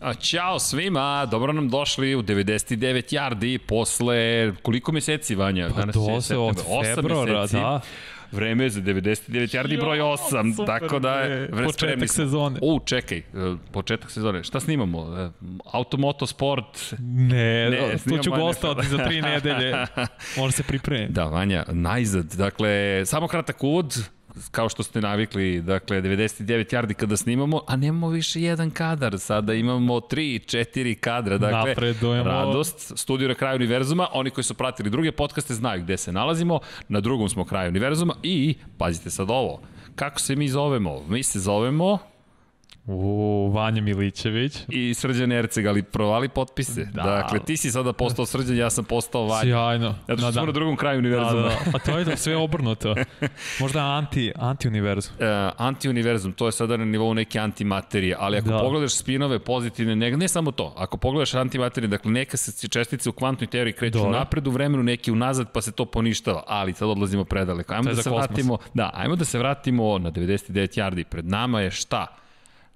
A, Ćao svima, dobro nam došli u 99 yardi posle koliko meseci, Vanja? Pa dosta od Osam februara, da. Vreme je za 99 yardi broj Jo, 8, super, tako da bre. je Početak sezone. U, čekaj, e, početak sezone. Šta snimamo? E, Automotosport? Ne, Ne, tu ću snimamo gosta nešto. za tri nedelje. Može se pripremiti. Da, Vanja, najzad. Dakle, samo kratak uvod, kao što ste navikli, dakle, 99 yardi kada snimamo, a nemamo više jedan kadar, sada imamo 3, 4 kadra, dakle, Napredujemo. radost, studio na kraju univerzuma, oni koji su pratili druge podcaste znaju gde se nalazimo, na drugom smo kraju univerzuma i, pazite sad ovo, kako se mi zovemo? Mi se zovemo U, Vanja Milićević. i Srđan Erceg, ali provali potpise. Da. Dakle, ti si sada postao Srđan, ja sam postao Vanja. Sjajno. Zato što smo na drugom kraju da, univerzuma. da. Pa to je to sve obrnuto. Možda anti, anti-univerzum. uh, antiuniverzum, to je sada na nivou neke antimaterije, ali ako Da. da. pogledaš spinove pozitivne, ne, ne samo to, ako pogledaš antimaterije, dakle neka se čestice u kvantnoj teoriji kreću Dobro. Dobre. napred u vremenu, neke unazad, pa se to poništava, ali sad odlazimo predaleko. Ajmo To je da za se kosmos. vratimo, da, ajmo da se vratimo na 99 yardi. Pred nama je šta?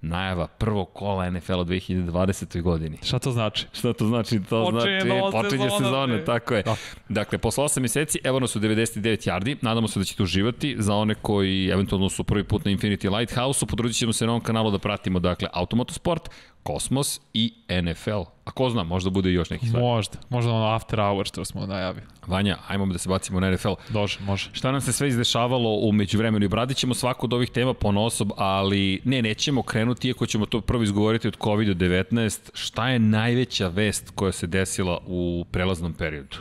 Najava prvog kola NFL-a u 2020. godini. Šta to znači? Šta to znači? To Počinje znači nova počinje sezona, sezone, bre. tako je. Da. Dakle, posle 8 meseci, evo nas u 99 yardi, nadamo se da ćete uživati. Za one koji eventualno su prvi put na Infinity Lighthouse-u, potrudit ćemo se na ovom kanalu da pratimo, dakle, Automotosport, Kosmos i NFL. A ko zna, možda bude i još nekih stvari. Možda. Možda ono after hour što smo najavili. Vanja, ajmo da se bacimo na NFL. Dože, može. Šta nam se sve izdešavalo u međuvremenu i obradit ćemo svaku od ovih tema ponosob, ali ne, nećemo krenuti, iako ćemo to prvo izgovoriti od COVID-19. Šta je najveća vest koja se desila u prelaznom periodu?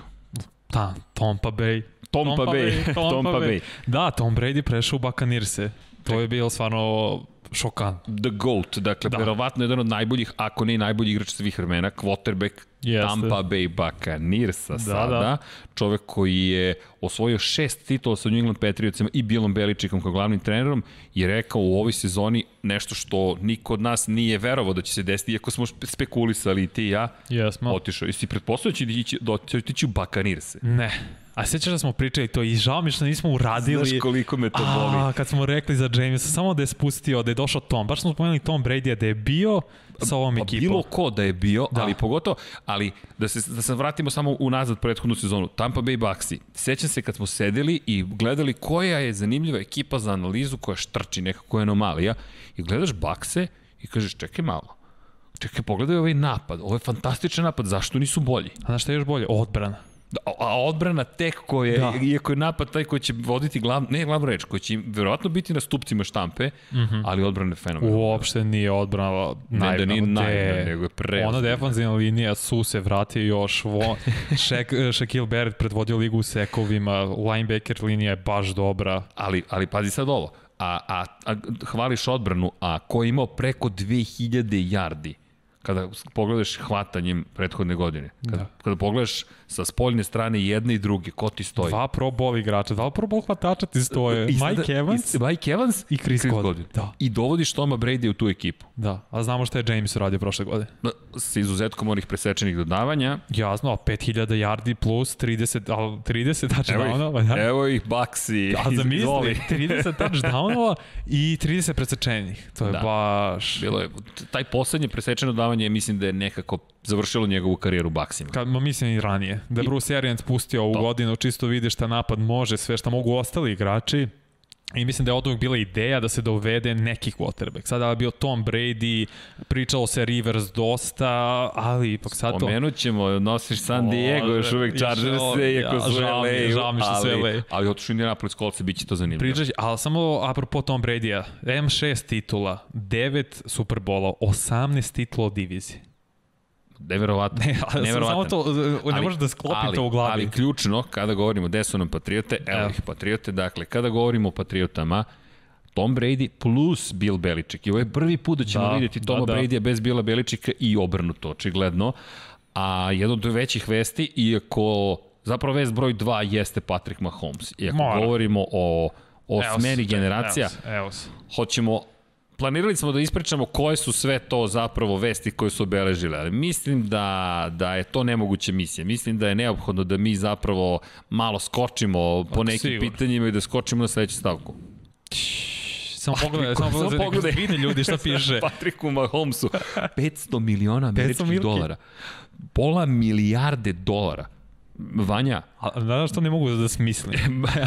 Ta, Tompa Bay. Tompa Bay. Tompa Tompa Bay. Bay. Da, Tom Brady prešao u Bakanirse. To je bilo stvarno šokantno. The GOAT, dakle, Da. da. verovatno jedan od najboljih, ako ne i najbolji igrač svih vremena, quarterback Jeste. Jeste. Tampa Bay Buccaneersa da, sada, da. da. čovek koji je osvojio šest titula sa New England Patriotsima i Billom Beličicom kao glavnim trenerom i rekao u ovoj sezoni nešto što niko od nas nije verovao da će se desiti, iako smo špe- spekulisali i ti i ja, Jesmo. otišao. Jesi pretpostavio da će ići, da će otići u Buccaneerse? Ne. A sećaš da smo pričali to i žao mi je što nismo uradili. Znaš koliko me to boli. A, kad smo rekli za Jamesa, samo da je spustio, da je došao Tom, baš smo spomenuli Tom Brady, da je bio sa ovom Pa ekipom. bilo ko da je bio, Da. da. ali pogotovo, ali da se, da se vratimo samo unazad prethodnu sezonu. Tampa Bay Bucksi. Sećam se kad smo sedeli i gledali koja je zanimljiva ekipa za analizu koja štrči, nekako je anomalija. I gledaš Bakse i kažeš čekaj malo. Čekaj, pogledaj ovaj napad. Ovo je fantastičan napad. Zašto nisu bolji? A znaš šta je još bolje? Odbrana. Da, a- A odbrana tek ko je, Da. da. iako je napad taj koji će voditi glav, ne glavnu reč, koji će im verovatno biti na stupcima štampe, mm -hmm. ali odbrana je fenomenalna. Uopšte nije odbrana da najbolja. nije naivna, nego je preozbiljna. Ona defanzivna linija su se vratio još. Vo, Shaq, eh, Shaquille Barrett predvodio ligu u sekovima, linebacker linija je baš dobra. Ali, ali pazi sad ovo. A, a, a, hvališ odbranu, a ko je imao preko 2000 jardi kada s- pogledaš hvatanjem prethodne godine. Kada, Da. da. kada pogledaš sa spoljne strane jedne i druge, ko ti stoji? Dva pro bowl igrača, dva pro bowl hvatača ti stoje. I sada- Mike Evans. I, Mike Evans i Chris Godwin. Da. I dovodiš Toma Brady u tu ekipu. Da, a znamo šta je James radio prošle godine. Na- S izuzetkom onih presečenih dodavanja. Jasno, a 5000 yardi plus 30, a 30 Evo ih, touchdownova. da. evo ih Baksi. A zamisli, 30 touchdownova i 30 presečenih. To je da. Da. baš... Bilo je, taj poslednje presečeno dodavanje mislim da je nekako završilo njegovu karijeru u Baksima. Kad, ma mislim i ranije. Da je Bruce Arians pustio ovu To. godinu, čisto vidi šta napad može, sve šta mogu ostali igrači. I mislim da je od uvijek bila ideja da se dovede neki quarterback. Sada je bio Tom Brady, pričalo se Rivers dosta, ali ipak sad to... Pomenut ćemo, nosiš San Diego, Može. još uvek Još Chargers ovo, se, ja, iako su žao mi je, LA, žao mi što su LA. ali, ali otišu Indianapolis Colts, bit će to zanimljivo. Pričaš, ali samo apropo Tom Brady-a, M6 titula, 9 Superbola, 18 titula od divizije. Neverovatno. Ne, ali sam samo to, ne Ali- možeš da sklopim ali, to u glavi. Da. Ali ključno, kada govorimo gde su nam Patriote, evo Evo. ih Patriote, dakle, kada govorimo o Patriotama, Tom Brady plus Bill Belichick. I ovo je prvi put da ćemo Da, da, vidjeti da, Toma da. da, da. Brady bez Billa Beličika i obrnuto, očigledno. A jedan od većih vesti, iako zapravo vest broj 2 jeste Patrick Mahomes. Iako Mora. govorimo o, o Evo se, smeni generacija, Evo se, evo se. hoćemo planirali smo da ispričamo koje su sve to zapravo vesti koje su obeležile, ali mislim da, da je to nemoguća misija. Mislim da je neophodno da mi zapravo malo skočimo po nekim sigurno. pitanjima i da skočimo na sledeću stavku. samo pogledaj, samo samo pogledaj, pogledaj. Pa. neka vide ljudi šta Da piše. Patriku Mahomesu. 500 miliona 500 američkih milki. dolara. Pola milijarde dolara. Vanja, A, znaš što ne mogu da smislim?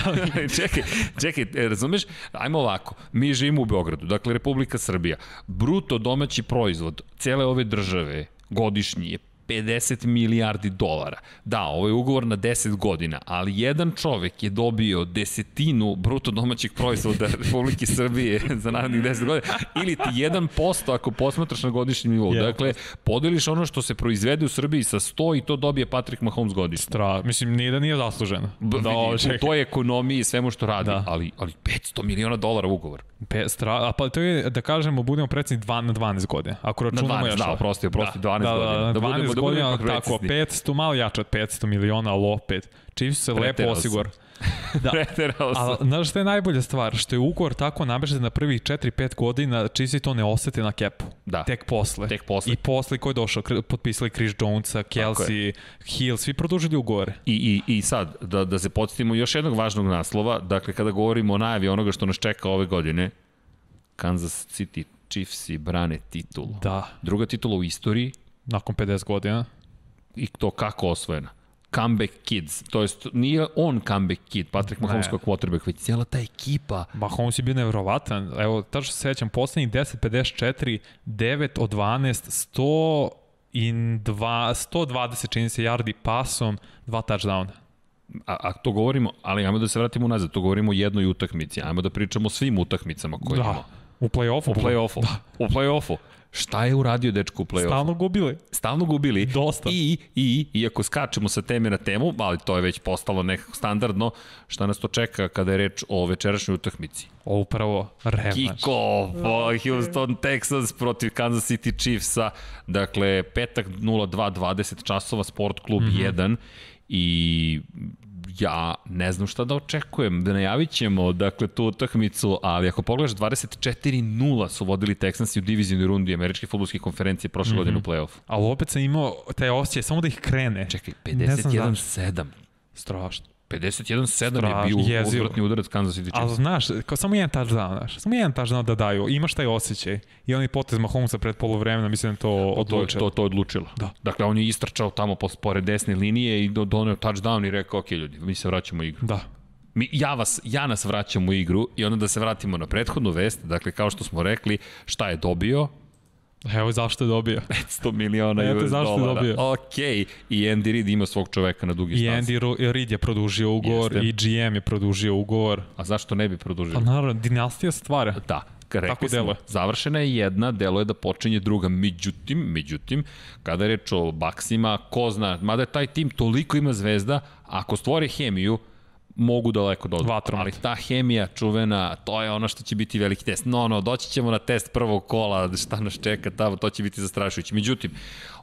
čekaj, čekaj, e, razumeš? Ajmo ovako, mi živimo u Beogradu, dakle Republika Srbija. Bruto domaći proizvod cele ove države godišnji je 50 milijardi dolara. Da, ovo je ugovor na 10 godina, ali jedan čovek je dobio desetinu bruto domaćih proizvoda Republike Srbije za narednih 10 godina, ili ti 1% ako posmatraš na godišnjem nivou. Jedan Dakle, podeliš ono što se proizvede u Srbiji sa 100 i to dobije Patrick Mahomes godišnje. Tra, mislim, nije da nije zasluženo. B, Da, da, ovo vidi, u čekaj. toj ekonomiji i svemu što radi, Da. da. ali, ali 500 miliona dolara ugovor. Pe, stra, a pa to je, da kažemo, budemo precizni dva, na 12 godina. Ako Na računamo 12, još... da, oprosti, oprosti, 12 godina. Da, Da 12 budemo- da budemo godina, ipak tako, precizni. 500, malo jače od 500 miliona, ali opet. Chiefs su se lepo Preterao sam. osigor. Da, Preterao sam. A znaš šta je najbolja stvar? Što je ugovor tako namešten na prvih 4-5 godina, čiji se to ne osete na kepu. Da. Tek posle. Tek posle. I posle ko je došao, Kr- potpisali Chris Jonesa, Kelsey, Hill, svi produžili ugovore. I, i, I sad, da, da se podsjetimo još jednog važnog naslova, dakle, kada govorimo o najavi onoga što nas čeka ove godine, Kansas City Chiefs brane titulu. Da, Druga titula u istoriji, nakon 50 godina. i to kako osvojena. Comeback Kids, to jest nije on comeback kid, Patrick Mahomes Ne. kao quarterback, već cijela ta ekipa. Mahomes je bio nevrovatan. Evo, tačno se sećam, poslednjih 10, 54, 9 od 12, 100 i 2, 120 čini se yardi pasom, dva touchdowna. A, a to govorimo, ali ajmo da se vratimo nazad, to govorimo o jednoj utakmici, ajmo da pričamo o svim utakmicama koje da. imamo. Da, u play-offu. U play-offu. Da. U play-offu. Šta je uradio dečko u play-offu? Stalno, Stalno gubili. Stalno gubili. Dosta. I, i, iako skačemo sa teme na temu, ali to je već postalo nekako standardno, šta nas to čeka kada je reč o večerašnjoj utakmici? O, upravo, revanš. Kiko, Houston Texans protiv Kansas City Chiefsa. Dakle, petak 02.20 časova, Sport klub mm Mhm. -hmm. 1 i ja ne znam šta da očekujem. Da najavit ćemo, dakle, tu utakmicu, ali ako pogledaš, 24-0 su vodili Texansi u divizijnoj rundi Američke futbolske konferencije prošle mm -hmm. Mhm. godine u play-offu. Ali opet sam imao taj osjećaj samo da ih krene. Čekaj, Ne znam zašto. 51-7. Strašno. 51-7 je Strašno, bio jezivo. odvratni udarac Kansas City Chiefsa. Ali znaš, kao samo jedan touchdown, znaš, samo jedan touchdown da daju, imaš taj osjećaj. I onaj potez Mahomesa pred polovremena, mislim da je to odlučilo. To, to, to odlučilo. Da. Dakle, on je istrčao tamo pos- pored desne linije i do- doneo touchdown i rekao, ok, ljudi, mi se vraćamo u igru. Da. Mi, ja, vas, ja nas vraćam u igru i onda da se vratimo na prethodnu vest, dakle, kao što smo rekli, šta je dobio? Evo zašto je dobio. 500 miliona Eto, US zašto je dolara. dobio? Ok, i Andy Reid ima svog čoveka na dugi I stans. Andy Ro- Reid je produžio ugovor, Jeste. i GM je produžio ugovor. A zašto ne bi produžio? Pa naravno, dinastija stvara. Da, rekli Tako Tako deluje. smo, završena je jedna, delo je da počinje druga, međutim, međutim, kada je reč o Baksima, ko zna, mada je taj tim toliko ima zvezda, ako stvore hemiju, mogu daleko da odu. Vatromet. Ali ta hemija čuvena, to je ono što će biti veliki test. No, no, doći ćemo na test prvog kola, šta nas čeka tamo, to će biti zastrašujuće. Međutim,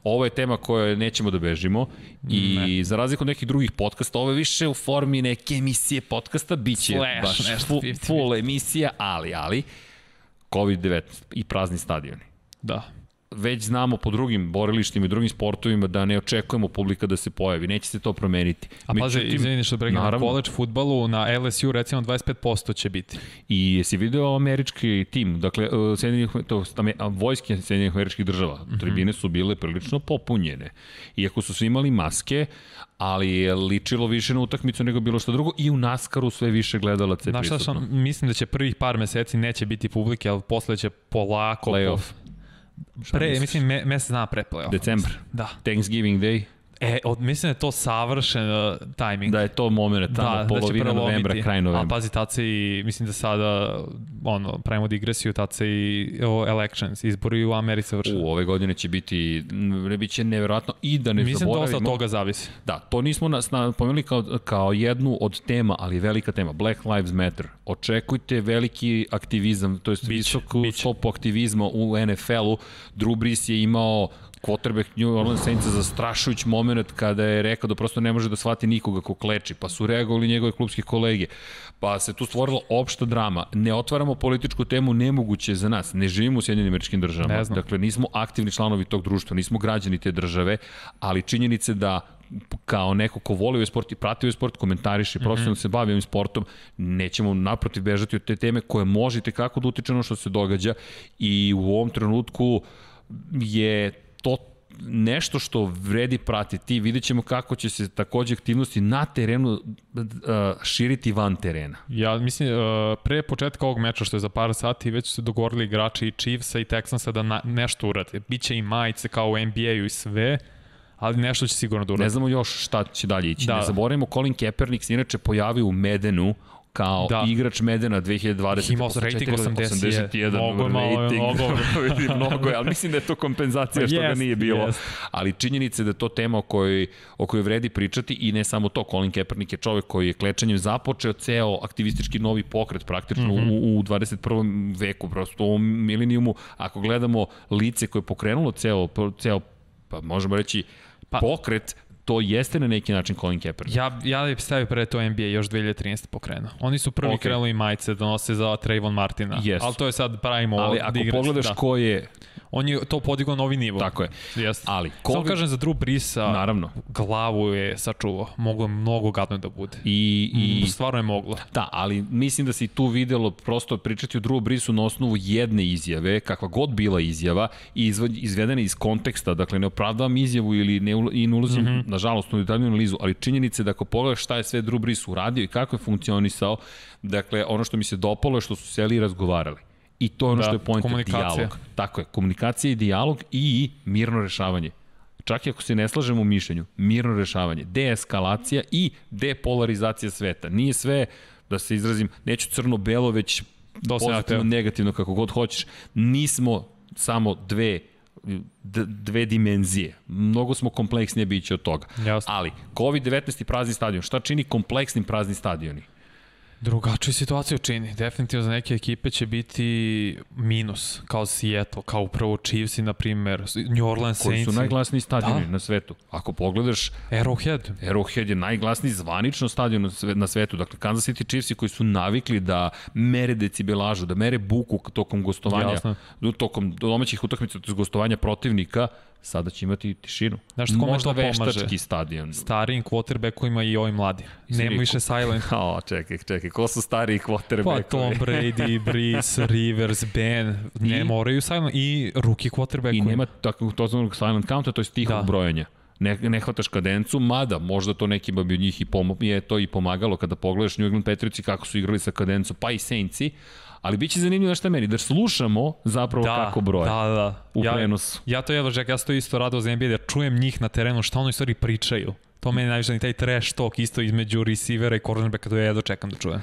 ovo je tema koju nećemo da bežimo i ne. za razliku od nekih drugih podcasta, ovo je više u formi neke emisije podcasta, bit će Slash, baš nešto, fu- 50-50. full emisija, ali, ali, COVID-19 i prazni stadioni. Da. Već znamo po drugim borilištima i drugim sportovima da ne očekujemo publika da se pojavi, neće se to promeniti. A pazi, Međutim, izvini što prekam, na naravno. college futbalu na LSU recimo 25% će biti. I jesi video američki tim, dakle, e, Sjedinjenih, to, tam je, a, vojske Sjedinjenih američkih država, Mhm. mm -hmm. tribine su bile prilično popunjene. Iako su svi imali maske, ali je ličilo više na utakmicu nego bilo što drugo i u Naskaru sve više gledalaca je Znaš šta prisutno. sam, mislim da će prvih par meseci neće biti publike, ali posle će polako... Playoff. Pre, misliš? mislim, me, mesec dana pre playoff. Decembar. Da. Thanksgiving Day. E, od, mislim da je to savršen uh, timing. Da je to moment, tamo da, polovina da prelomiti. novembra, kraj A pa novembra. pazi, tad se i, mislim da sada, ono, pravimo digresiju, tad se i o, elections, izbori u Americi vrše. U, ove godine će biti, ne, bit će nevjerojatno i da ne Mislim da dosta zaboravimo. od toga zavisi. Da, to nismo nas na- pomenuli kao, kao jednu od tema, ali velika tema, Black Lives Matter. Očekujte veliki aktivizam, to je visoku biće. stopu aktivizma u NFL-u. Drew Brees je imao quarterback New Orleans Saints zastrašujuć moment kada je rekao da prosto ne može da shvati nikoga ko kleči, pa su reagovali njegove klubske kolege, pa se tu stvorila opšta drama. Ne otvaramo političku temu, nemoguće je za nas. Ne živimo u Sjedinim američkim državama. Ne znam. Dakle, nismo aktivni članovi tog društva, nismo građani te države, ali činjenice da kao neko ko voli ovaj sport i prati ovaj sport, komentariše, profesionalno mm -hmm. se bavi ovim sportom, nećemo naprotiv bežati od te teme koje možete kako da utiče ono što se događa i u ovom trenutku je to nešto što vredi pratiti. Vidjet ćemo kako će se takođe aktivnosti na terenu eh, širiti van terena. Ja mislim, uh, pre početka ovog meča što je za par sati, već su se dogovorili igrači i Chiefsa i Texansa da na, nešto urade. Biće i majice kao u NBA-u i sve, ali nešto će sigurno da urade. Ne znamo još šta će dalje ići. Da. Ne zaboravimo, Colin Kaepernick se inače pojavio u Medenu kao da. igrač Medena 2020. Imao sam rating 80, 81. Mnogo je, rating, mnogo je. mnogo je, ali mislim da je to kompenzacija što yes, ga nije bilo. Yes. Ali činjenica je da je to tema o kojoj, o kojoj vredi pričati i ne samo to. Colin Kaepernick je čovek koji je klečanjem započeo ceo aktivistički novi pokret praktično mm -hmm. u, u 21. veku, prosto u milenijumu. Ako gledamo lice koje je pokrenulo ceo, ceo pa možemo reći, pa, pokret, to jeste na neki način Colin Kaepernick. Ja, ja bih stavio pre to NBA još 2013. pokrenuo. Oni su prvi okay. krenuli majice da nose za Trayvon Martina. Yes. Ali to je sad pravimo Ali ako digres, pogledaš da. ko je... On je to podigao novi nivo. Tako je. Yes. Ali, ko Samo kažem za Drew Brisa, Naravno. glavu je sačuvao. Moglo je mnogo gadno da bude. I, i... Stvarno je moglo. Da, ali mislim da se i tu videlo prosto pričati o Drew Brisu na osnovu jedne izjave, kakva god bila izjava, i izvedena iz konteksta. Dakle, ne opravdavam izjavu ili ne, i ne ulazim mm -hmm nažalost, u detaljnu analizu, ali činjenice da ako pogledaš šta je sve Drew Brees uradio i kako je funkcionisao, dakle, ono što mi se dopalo je što su seli i razgovarali. I to je ono da, što je point dijalog. Tako je, komunikacija i dijalog i mirno rešavanje. Čak i ako se ne slažemo u mišljenju, mirno rešavanje, deeskalacija i depolarizacija sveta. Nije sve, da se izrazim, neću crno-belo, već pozitivno, negativno, kako god hoćeš. Nismo samo dve dve dimenzije. Mnogo smo kompleksnije biće od toga. Jasno. Ali, COVID-19 i prazni stadion, šta čini kompleksnim prazni stadioni? Drugačiju situaciju čini. Definitivno za neke ekipe će biti minus, kao Seattle, kao upravo Chiefs i, na primer, New Orleans Koji Saints. Koji su najglasniji stadioni da. na svetu. Ako pogledaš... Arrowhead. Arrowhead je najglasniji zvanično stadion na svetu. Dakle, Kansas City Chiefs koji su navikli da mere decibelažu, da mere buku tokom gostovanja, Jasne. tokom domaćih utakmica, tokom gostovanja protivnika, sada će imati tišinu. Znaš, kome Možda to veštački pomaže? stadion. Starijim quarterbackovima i ovim mladim. Nema više silent. o, čekaj, čekaj, ko su stariji quarterbackovi? Pa Tom Brady, Brees, Rivers, Ben, ne I, moraju silent i rookie quarterbackovi. I nema tako to zvanog silent counta, to je tiho da. brojanje. Ne, ne hvataš kadencu, mada možda to nekima bi od njih i pomo, je to i pomagalo kada pogledaš New England Patriotsi kako su igrali sa kadencom, pa i Saintsi, Ali biće zanimljivo da šta meni, da slušamo zapravo da, kako broje. Da, da. U ja, prenosu. Ja to jedva čekam, ja sam to isto radao za NBA, da čujem njih na terenu, šta oni stvari pričaju. To meni najviše i taj trash talk isto između receivera i cornerbacka, to ja jedva čekam da čujem.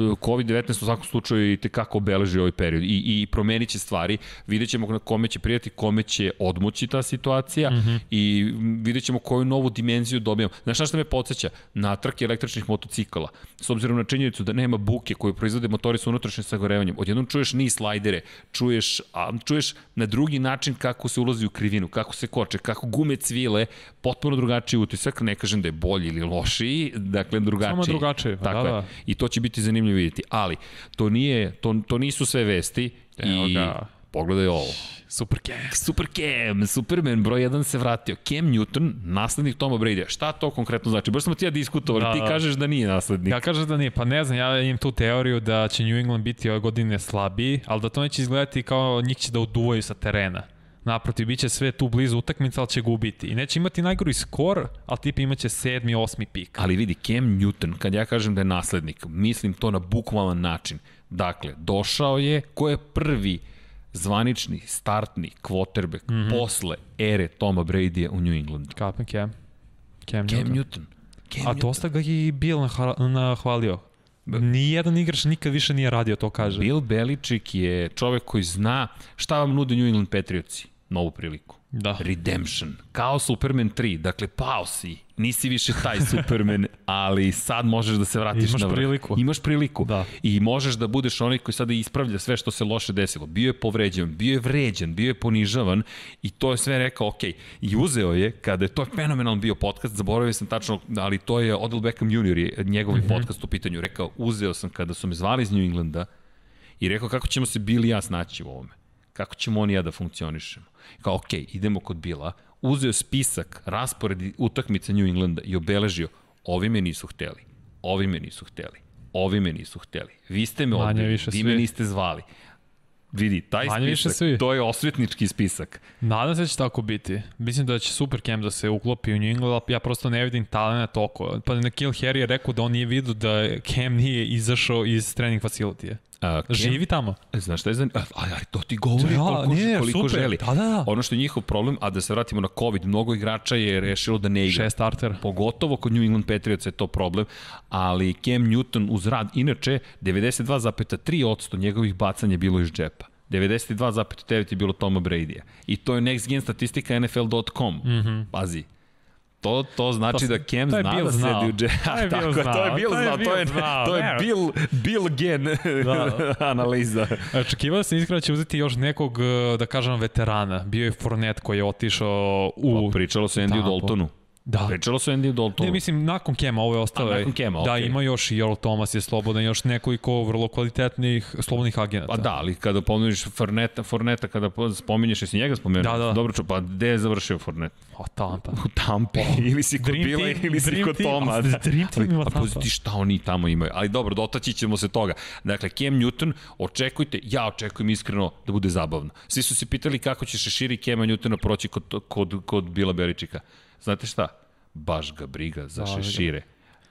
COVID-19 u svakom slučaju i tekako obeleži ovaj period i, i promenit će stvari. Vidjet ćemo na kome će prijati, kome će odmoći ta situacija mm Mhm. -hmm. i vidjet ćemo koju novu dimenziju dobijamo. Znaš šta me podsjeća? Na trke električnih motocikala. S obzirom na činjenicu da nema buke koju proizvode motori sa unutrašnjim sagorevanjem, odjednom čuješ ni slajdere, čuješ, a, čuješ na drugi način kako se ulazi u krivinu, kako se koče, kako gume cvile, potpuno drugačiji utisak, ne kažem da je bolji ili lošiji, dakle drugačiji. Samo drugačiji, pa Tako da, da. Je. I to će biti zanimljivo vidjeti, ali to, nije, to, to nisu sve vesti Evo i ga. pogledaj ovo. Super Cam. Super Cam, Superman broj 1 se vratio. Cam Newton, naslednik Toma Brady. Šta to konkretno znači? Baš smo ti ja diskutovali, da, ti kažeš da nije naslednik. Ja kažem da nije, pa ne znam, ja imam tu teoriju da će New England biti ove godine slabiji, ali da to neće izgledati kao njih će da oduvaju sa terena. Naprotiv, bit će sve tu blizu utakmica, ali će gubiti. I neće imati najgori skor, ali tip imaće sedmi, osmi pik. Ali vidi, Cam Newton, kad ja kažem da je naslednik, mislim to na bukvalan način. Dakle, došao je, ko je prvi zvanični, startni quarterback mm -hmm. posle ere Toma Brady u New Englandu. Kapen Cam. Cam, Cam Newton. Newton. Cam A dosta ga je i Bill nahvalio. Nijedan igrač nikad više nije radio, to kaže. Bill Beličik je čovek koji zna šta vam nude New England Patriotsi. Novu priliku. Da. Redemption. Kao Superman 3. Dakle, pao si. Nisi više taj Superman, ali sad možeš da se vratiš Imaš na vrh. priliku. Imaš priliku. Da. I možeš da budeš onaj koji sada ispravlja sve što se loše desilo. Bio je povređen, bio je vređen, bio je ponižavan i to je sve rekao, ok. I uzeo je, kada je to fenomenalan bio podcast, zaboravio sam tačno, ali to je Odell Beckham Jr. je njegov Mhm. mm -hmm. podcast u pitanju. Rekao, uzeo sam kada su me zvali iz New Englanda i rekao kako ćemo se Billy i ja snaći u ovome kako ćemo on i ja da funkcionišemo. Kao, ok, idemo kod Bila, uzeo spisak, raspored utakmica New Englanda i obeležio ovi me nisu hteli, ovi me nisu hteli, ovi me nisu hteli. Vi ste me Manje odbili, više vi svi. me niste zvali. Vidi, taj Manje više spisak, svi. to je osvetnički spisak. Nadam se da će tako biti. Mislim da će Supercam da se uklopi u New England, ali ja prosto ne vidim talent oko. Pa na Kill Harry je rekao da on nije vidio da Cam nije izašao iz trening facility A, Da. Cam- Živi tamo. Znaš šta je zanimljivo? Ali, ali to ti govori Da, koliko, ne, koliko super. želi. Da, da, da. Ono što je njihov problem, a da se vratimo na COVID, mnogo igrača je rešilo da ne igra. Šest startera. Pogotovo kod New England Patriots je to problem, ali Cam Newton uz rad, inače 92,3% njegovih bacanja je bilo iz džepa. 92,9 je bilo Toma Brady-a. I to je next gen statistika NFL.com. Mm -hmm. Pazi, To, to znači Mhm. To- da Cam to je zna Bill da znao. sedi u džepa. To je Bill Tako, To je znao, Bill to znao. To je, je Bill znao, to je ne. Bill, Bill gen Da. analiza. Očekivao sam iskreno da će uzeti još nekog, e, da kažem, veterana. Bio je Fournette koji je otišao u... Pa, pričalo se o Andy Tampa. Daltonu. Da. Pričalo se o Andy Daltonu. Ne, mislim, nakon Kema ovo je ostalo. A, nakon Kema, Da, okej. ima još i Earl Thomas je slobodan, još nekoliko vrlo kvalitetnih slobodnih agenata. Pa da, ali kada pominješ Forneta, Forneta kada po- spominješ, jesi njega spomenuo? Da, da. Dobro, ču, pa gde je završio Fornet? O, Tampa. U Tampi, ili si kod Dream Bila, Team- ili si Dream kod Team, Toma. a Dream Team Ali, ima a Tampa. poziti šta oni tamo imaju. Ali dobro, dotaći ćemo se toga. Dakle, Cam Newton, očekujte, ja očekujem iskreno da bude zabavno. Svi su se pitali kako će šeširi Cema Newtona proći kod, kod, kod Bila Beričika. Znate šta? Baš ga briga za Baš ga. šešire.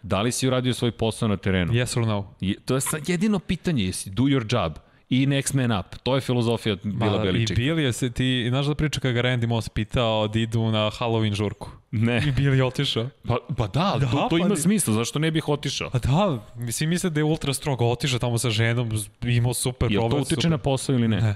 Da li si uradio svoj posao na terenu? Yes or no? Je, to je sad jedino pitanje, jesi do your job i next man up. To je filozofija Bila Ma, Pa, I Beličika. Billy je se ti, znaš da priča kada ga Randy Moss pitao da idu na Halloween žurku. I Ne. Billy je otišao. Pa, pa da, da to, to pa ima ni- smisla, zašto ne bih otišao? A da, svi misle da je ultra strong otišao tamo sa ženom, z- imao super Je to problem. utiče super. na posao ili ne? Ne.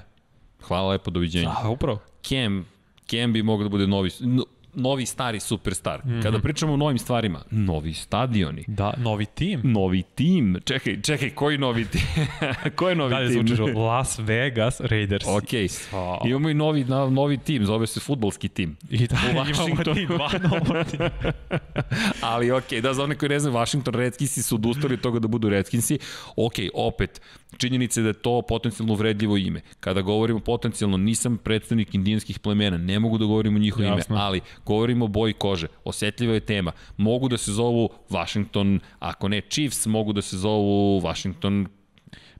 Hvala lepo, doviđenja. A, upravo. Cam, Cam bi mogao da bude novi, no- novi stari superstar. Mhm. Mm -hmm. Kada pričamo o novim stvarima, novi stadioni, Da, novi tim. novi tim, čekaj, čekaj, koji novi tim? koji je novi Dalje tim? Da zvučiš od Las Vegas Raiders. Ok, Sva. imamo i novi, na- novi tim, zove se futbolski tim. I da, U imamo Washingtonu. ti dva nova tima. Ali okej, okay, da, za one koji ne znaju, Washington Redkinsi su odustali od toga da budu Redkinsi. Okej, opet, činjenica je da je to potencijalno uvredljivo ime. Kada govorimo potencijalno, nisam predstavnik indijanskih plemena, ne mogu da govorim o njihovo ime, Jasno. ali govorimo o boji kože, osjetljiva je tema. Mogu da se zovu Washington, ako ne Chiefs, mogu da se zovu Washington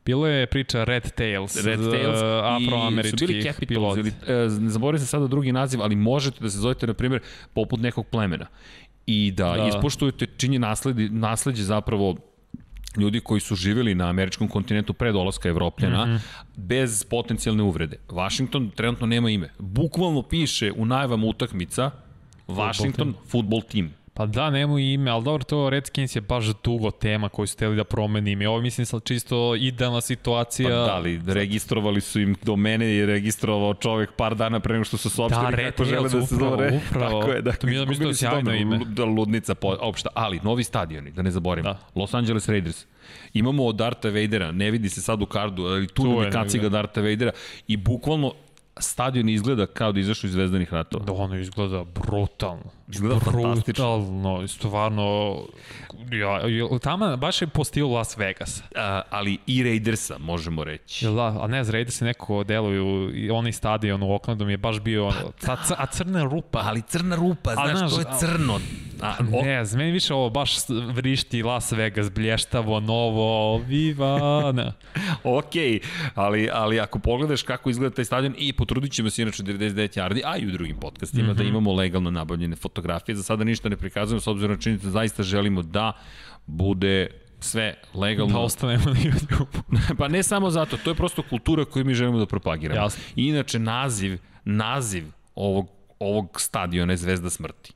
Bilo je priča Red Tails. Red Tails uh, i su bili afroameričkih Capitals pilota. ili e, ne zaboravim se sada drugi naziv, ali možete da se zovete na primjer poput nekog plemena i da, Da. da. ispoštujete činje nasledi, nasleđe zapravo ljudi koji su živjeli na američkom kontinentu pre dolaska Evropljana, mm -hmm. bez potencijalne uvrede. Washington trenutno nema ime. Bukvalno piše u najavama utakmica Washington football team. Pa da, nemu ime, ali dobro, to Redskins je baš dugo tema koju su hteli da promeni ime. Ovo je, mislim sad čisto idealna situacija. Pa da li, registrovali su im do mene je registrovao čovek par dana pre nego što su Da, sopstveni da, Red kako žele Tails, da se zove. upravo, upravo. Tako je, da, To mi je da mi isto izgubili su sjajno dobro, ime. lu- Da, ludnica po, opšta, ali novi stadioni, da ne zaboravimo. Da. Da. Los Angeles Raiders. Imamo od Darta Vadera, ne vidi se sad u kardu, ali tu, Tu je tu je kaciga negde. Darta Vadera i bukvalno stadion izgleda kao da izašao iz Zvezdanih ratova. Da ono izgleda brutalno. Izgleda fantastično. Brutalno, stvarno. Ja, jel- tamo baš je po stilu Las Vegas. A, ali i Raidersa, možemo reći. Jel da, a ne, zredi se neko deluju, i onaj stadion u Oklandu mi je baš bio, ono, a, cr- a crna rupa. Pa, ali crna rupa, A, znaš, znaš, to je a- Pa crno. A, o, Ne, za meni više ovo baš s- vrišti Las Vegas, blještavo, novo, viva, ne. Ok, ali, ali ako pogledaš kako izgleda taj stadion i potrudit ćemo se inače u 99 Jardi, a i u drugim podcastima, mm Mhm. -hmm. da imamo legalno nabavljene fotografije. Za sada ništa ne prikazujemo, s obzirom na činjenicu da zaista želimo da bude sve Da legalno. ostanemo na YouTube. pa ne samo zato, to je prosto kultura koju mi želimo da propagiramo. Jasno. I inače naziv, naziv ovog, ovog stadiona je Zvezda smrti.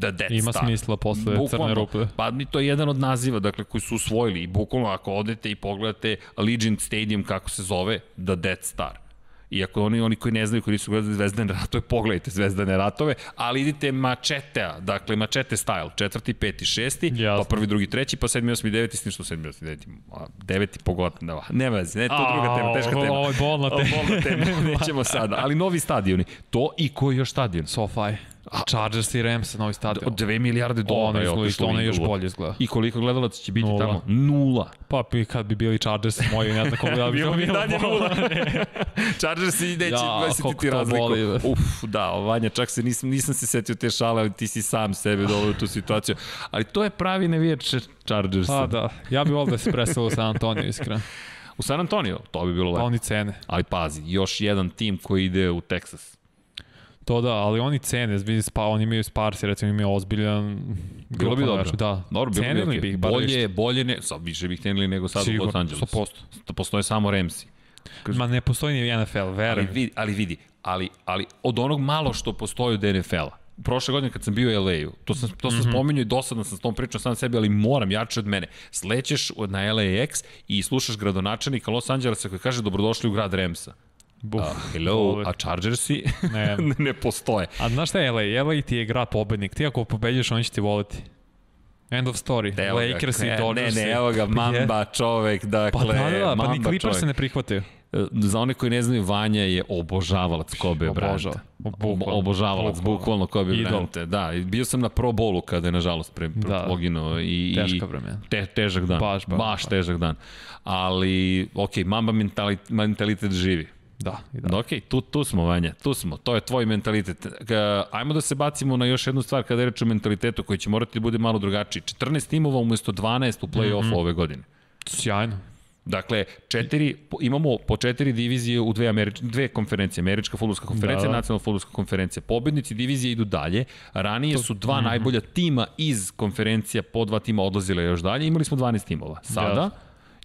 The Death Ima Star. smisla posle crne rupe. Pa ni to je jedan od naziva dakle, koji su usvojili. I bukvalno ako odete i pogledate Allegiant Stadium kako se zove, The Death Star. Iako oni, oni koji ne znaju, koji nisu gledali Zvezdane ratove, pogledajte Zvezdane ratove, ali idite mačetea, dakle mačete style, četvrti, peti, šesti, Jasno. Jasno. pa prvi, drugi, treći, pa sedmi, osmi, deveti, s tim što sedmi, osmi, deveti, a, deveti pogotovo, nema veze, ne, to je druga tema, teška tema. Ovo je bolna Ovo tema. je bolna tema, nećemo sada, ali novi stadioni, to i koji još stadion? SoFi. Chargers i Rams na ovoj stadion. Od 2 milijarde dolara Ona je izgleda, otišlo. u ona još Inglewood. bolje izgleda. I koliko gledalaca će biti Nula. tamo? Nula. Pa i kad bi bili Chargers moji, ne znam koga da bi Bilo to bi bilo. dalje nula. Chargers i neće Ja, ja, koliko ti to razliku. boli. Uf, da, Vanja, čak se nisam, nisam se setio te šale, ali ti si sam sebe doveo u tu situaciju. Ali to je pravi nevijač Chargersa. Pa da, ja bi ovde se presao u San Antonio, iskreno. U San Antonio, to bi bilo Pa lepo. oni cene. Ali pazi, još jedan tim koji ide u Texas. To da, ali oni cene, vidi, spa, oni imaju Sparsi, recimo imaju ozbiljan... Bilo bi grupan dobro. igrača, Da, Dobro, bilo bi Cenili okay. bi ih bar bolje, više. bolje ne, sad više bih tenili nego sad u Sigurno, Los Angelesu. 100%. Postoje samo Ramsey. Ma ne postoji ni NFL, Ali verujem. vidi, ali vidi, ali, ali od onog malo što postoji od NFL-a, prošle godine kad sam bio u LA-u, to sam, to Mhm. sam mm -hmm. spominjao i dosadno sam s tom pričom sam sebi, ali moram, jače od mene. Slećeš od- na LAX i slušaš gradonačelnika Los Angelesa koji kaže dobrodošli u grad Remsa. Buf, A, hello, dobro. a Chargersi Ne. ne postoje. A znaš šta je LA? LA ti je grad pobednik. Ti ako pobediš, oni će ti voliti. End of story. Evo ga, Lakers i ne, Dodgers. Ne, ne, evo ga, mamba čovek, Pa da, dakle, da, da, pa ni mamba Clippers čovek. se ne prihvataju. E, Za one koji ne znaju, Vanja je obožavalac Kobe Obožava. Bryanta. Bukvalno. Obo- Obožavalac, Bukvalno. bukvalno Kobe Idol. Bryanta. Da, i bio sam na pro bolu kada je, nažalost, pre, pre Da. poginuo. I, Teška i vremena. Te, težak dan. Baš, baš baš, baš. težak dan. Ali, okej, mamba mentalitet, mentalitet živi. Da, i da. Da. Ok, tu, tu smo, Vanja, tu smo, to je tvoj mentalitet. Ga- Ajmo da se bacimo na još jednu stvar kada je reč o mentalitetu koji će morati da bude malo drugačiji. 14 timova umesto 12 u play-offu Mhm. mm -hmm. ove godine. Sjajno. Dakle, četiri, po- imamo po četiri divizije u dve, američ, dve konferencije, Američka futbolska konferencija da. Da. i Nacionalna futbolska konferencija. Pobednici divizije idu dalje, ranije su dva mm. najbolja tima iz konferencija, po dva tima odlazile još dalje, imali smo 12 timova. Sada da.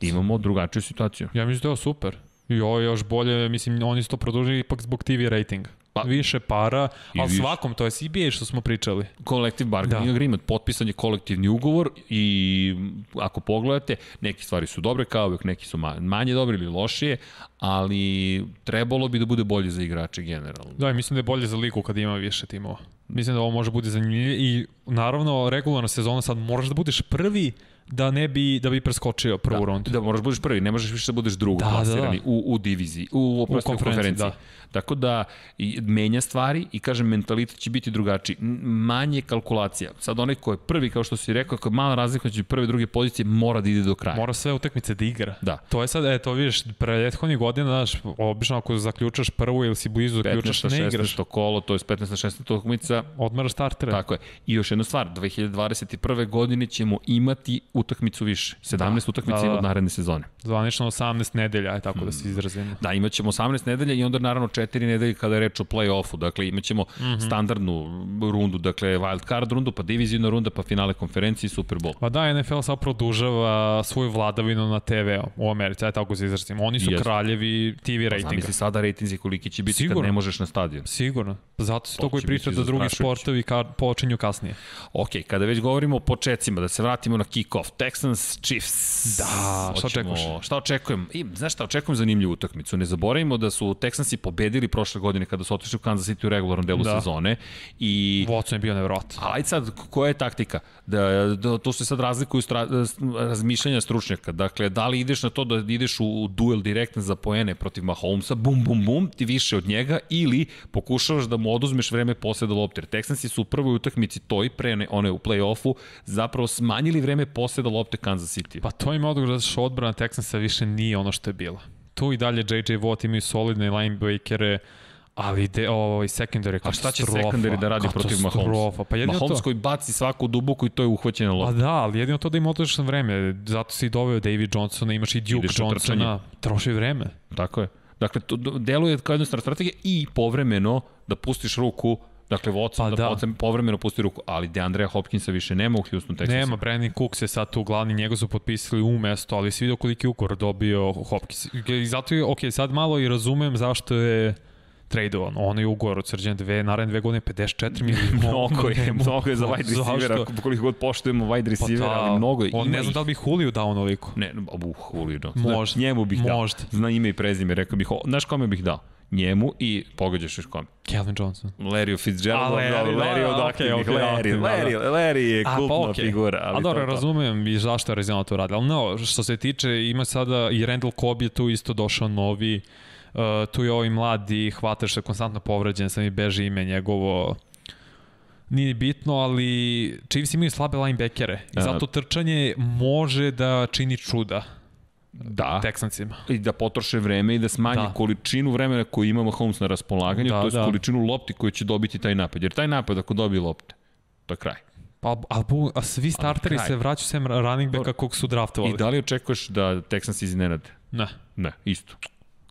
imamo drugačiju situaciju. Ja mislim da je ovo super. I ovo je još bolje, mislim, oni su to produžili ipak zbog TV ratinga. Pa- Pa, više para, I ali više. svakom, to je CBA što smo pričali. Collective bargaining da. Da. agreement, potpisan je kolektivni ugovor i m, ako pogledate, neke stvari su dobre kao uvek, neki su ma- manje dobre ili lošije, ali trebalo bi da bude bolje za igrače generalno. Da, i mislim da je bolje za ligu kad ima više timova. Mislim da ovo može bude zanimljivije i naravno regularna sezona sad moraš da budeš prvi da ne bi, da bi preskočio prvu da, rundu. Da, moraš da budeš prvi, ne možeš više da budeš drugi da, Da, da, plasirani da, da. u, u diviziji, u, u, u konferenciji. konferenciji, konferenciji. Da. Tako da i, menja stvari i kažem mentalitet će biti drugačiji. N- Manje kalkulacija. Sad onaj ko je prvi, kao što si rekao, ako je mala razlika među prve i druge pozicije, mora da ide do kraja. Mora sve utakmice da igra. Da. To je sad, e, to vidiš, prethodnih godina, znaš, obično ako zaključaš prvu ili si blizu da 15. zaključaš, ne igraš. 16. kolo, to je 15. 16. utakmica, Odmaraš startere. Tako je. I još jedna stvar, 2021. godine ćemo imati utakmicu više. 17 da, utakmica da, da, da. da. od naredne sezone. Zvanično 18 nedelja, aj tako da se izrazimo. Da, imat ćemo 18 nedelja i onda naravno 4 nedelje kada je reč o play-offu. Dakle, imat ćemo mm Mhm. -hmm. standardnu rundu, dakle wild card rundu, pa divizijna runda, pa finale konferencije i Super Bowl. Pa da, NFL sad produžava svoju vladavinu na TV-u u Americi, aj tako se izrazimo. Oni su Jeste. Pa kraljevi TV ratinga. Zamisli sada rejtinzi koliki će biti Sigurno. Sigurno. kad ne možeš na stadion. Sigurno. Zato se To to koji će priča biti da drugi zastrašujuće. sportovi ka, počinju kasnije. Ok, kada već govorimo o početcima, da se vratimo na kick-off. Texans, Chiefs. Da, šta očekuješ? Šta očekujem? I, znaš šta, očekujem zanimljivu utakmicu. Ne zaboravimo da su Texansi pobedili prošle godine kada su otišli u Kansas City u regularnom delu da. Da. sezone. I Watson je bio nevjerojatan. Ali ajde sad, koja je taktika? Da, da, to se sad razlikuju stra, razmišljanja stručnjaka. Dakle, da li ideš na to da ideš u, u duel direktan za poene protiv Mahomesa, bum, bum, bum, ti više od njega, ili pokušavaš da mu oduzmeš vreme poseda lopte. Jer Texansi su u prvoj utakmici toj, pre one, one u play-offu, zapravo smanjili vreme poseda lopte Kansas City. Pa, Pa to im je odgovor zato što odbrana Texansa više nije ono što je bila. Tu i dalje JJ Watt imaju solidne linebackere, ali de, ovaj secondary je A šta će katastrofa. sekundari da radi protiv Mahomesa? Katastrofa. Pa jedino Mahomes to, koji baci svaku dubuku i to je uhvaćena Pa lopta. da, ali jedino to da im otočeš vreme. Zato si i doveo David Johnsona, imaš i Duke Ideš na Johnsona. Troši vreme. Tako je. Dakle, to do- deluje kao jednostavna strategija i povremeno da pustiš ruku, dakle Watson Pa da, da. potem- povremeno pusti ruku, ali DeAndrea Hopkinsa više nema u Houston Texasu. Nema, Brandon Cooks je sad tu glavni, njega su potpisali u mesto, ali si vidio koliki ukor dobio Hopkins. I zato je, ok, sad malo i razumem zašto je tradovan. On je ugovor od srđan dve, naravne dve godine 54 miliona. Mnogo je, Nemo- mnogo je za wide Zašto? Pa da. receivera, ako- koliko god poštujemo wide receivera, pa ali mnogo je. On Ima ne znam ih- da li bi Julio dao onoliko. Ne, uh, Julio Jones. Možda. Zna, njemu bih dao. Možda. Zna ime i prezime, rekao bih, o, znaš kome bih dao? Njemu i pogađaš još kome. Calvin Johnson. Larry Fitzgerald, A, Larry, Larry, da, Larry da, od okej, aktivnih, okej, Larry, aktivni, da, Larry, Larry je A, kultna okej. figura. Ali A to dobro, je to. razumem i zašto je Arizona to radila. Ali no, što se tiče, ima sada i Randall Cobb je tu isto došao novi. Uh, tu je ovaj mladi hvataš se konstantno povređen, sam i beži ime njegovo. nije bitno, ali Chiefs imaju slabe linebackere i E. zato trčanje može da čini čuda Da. Texansima. i da potroše vreme i da smanje Da. da. količinu vremena koju ima Mahomes na raspolaganju, Da, da, to je da. da. količinu lopti koju će dobiti taj napad. Jer taj napad ako dobije lopte, to je kraj. Pa, a, bu- a svi starteri kraj. se vraćaju sem running backa Dobro. kog su draftovali. I da li očekuješ da Texans iznenade? Ne, Ne, isto.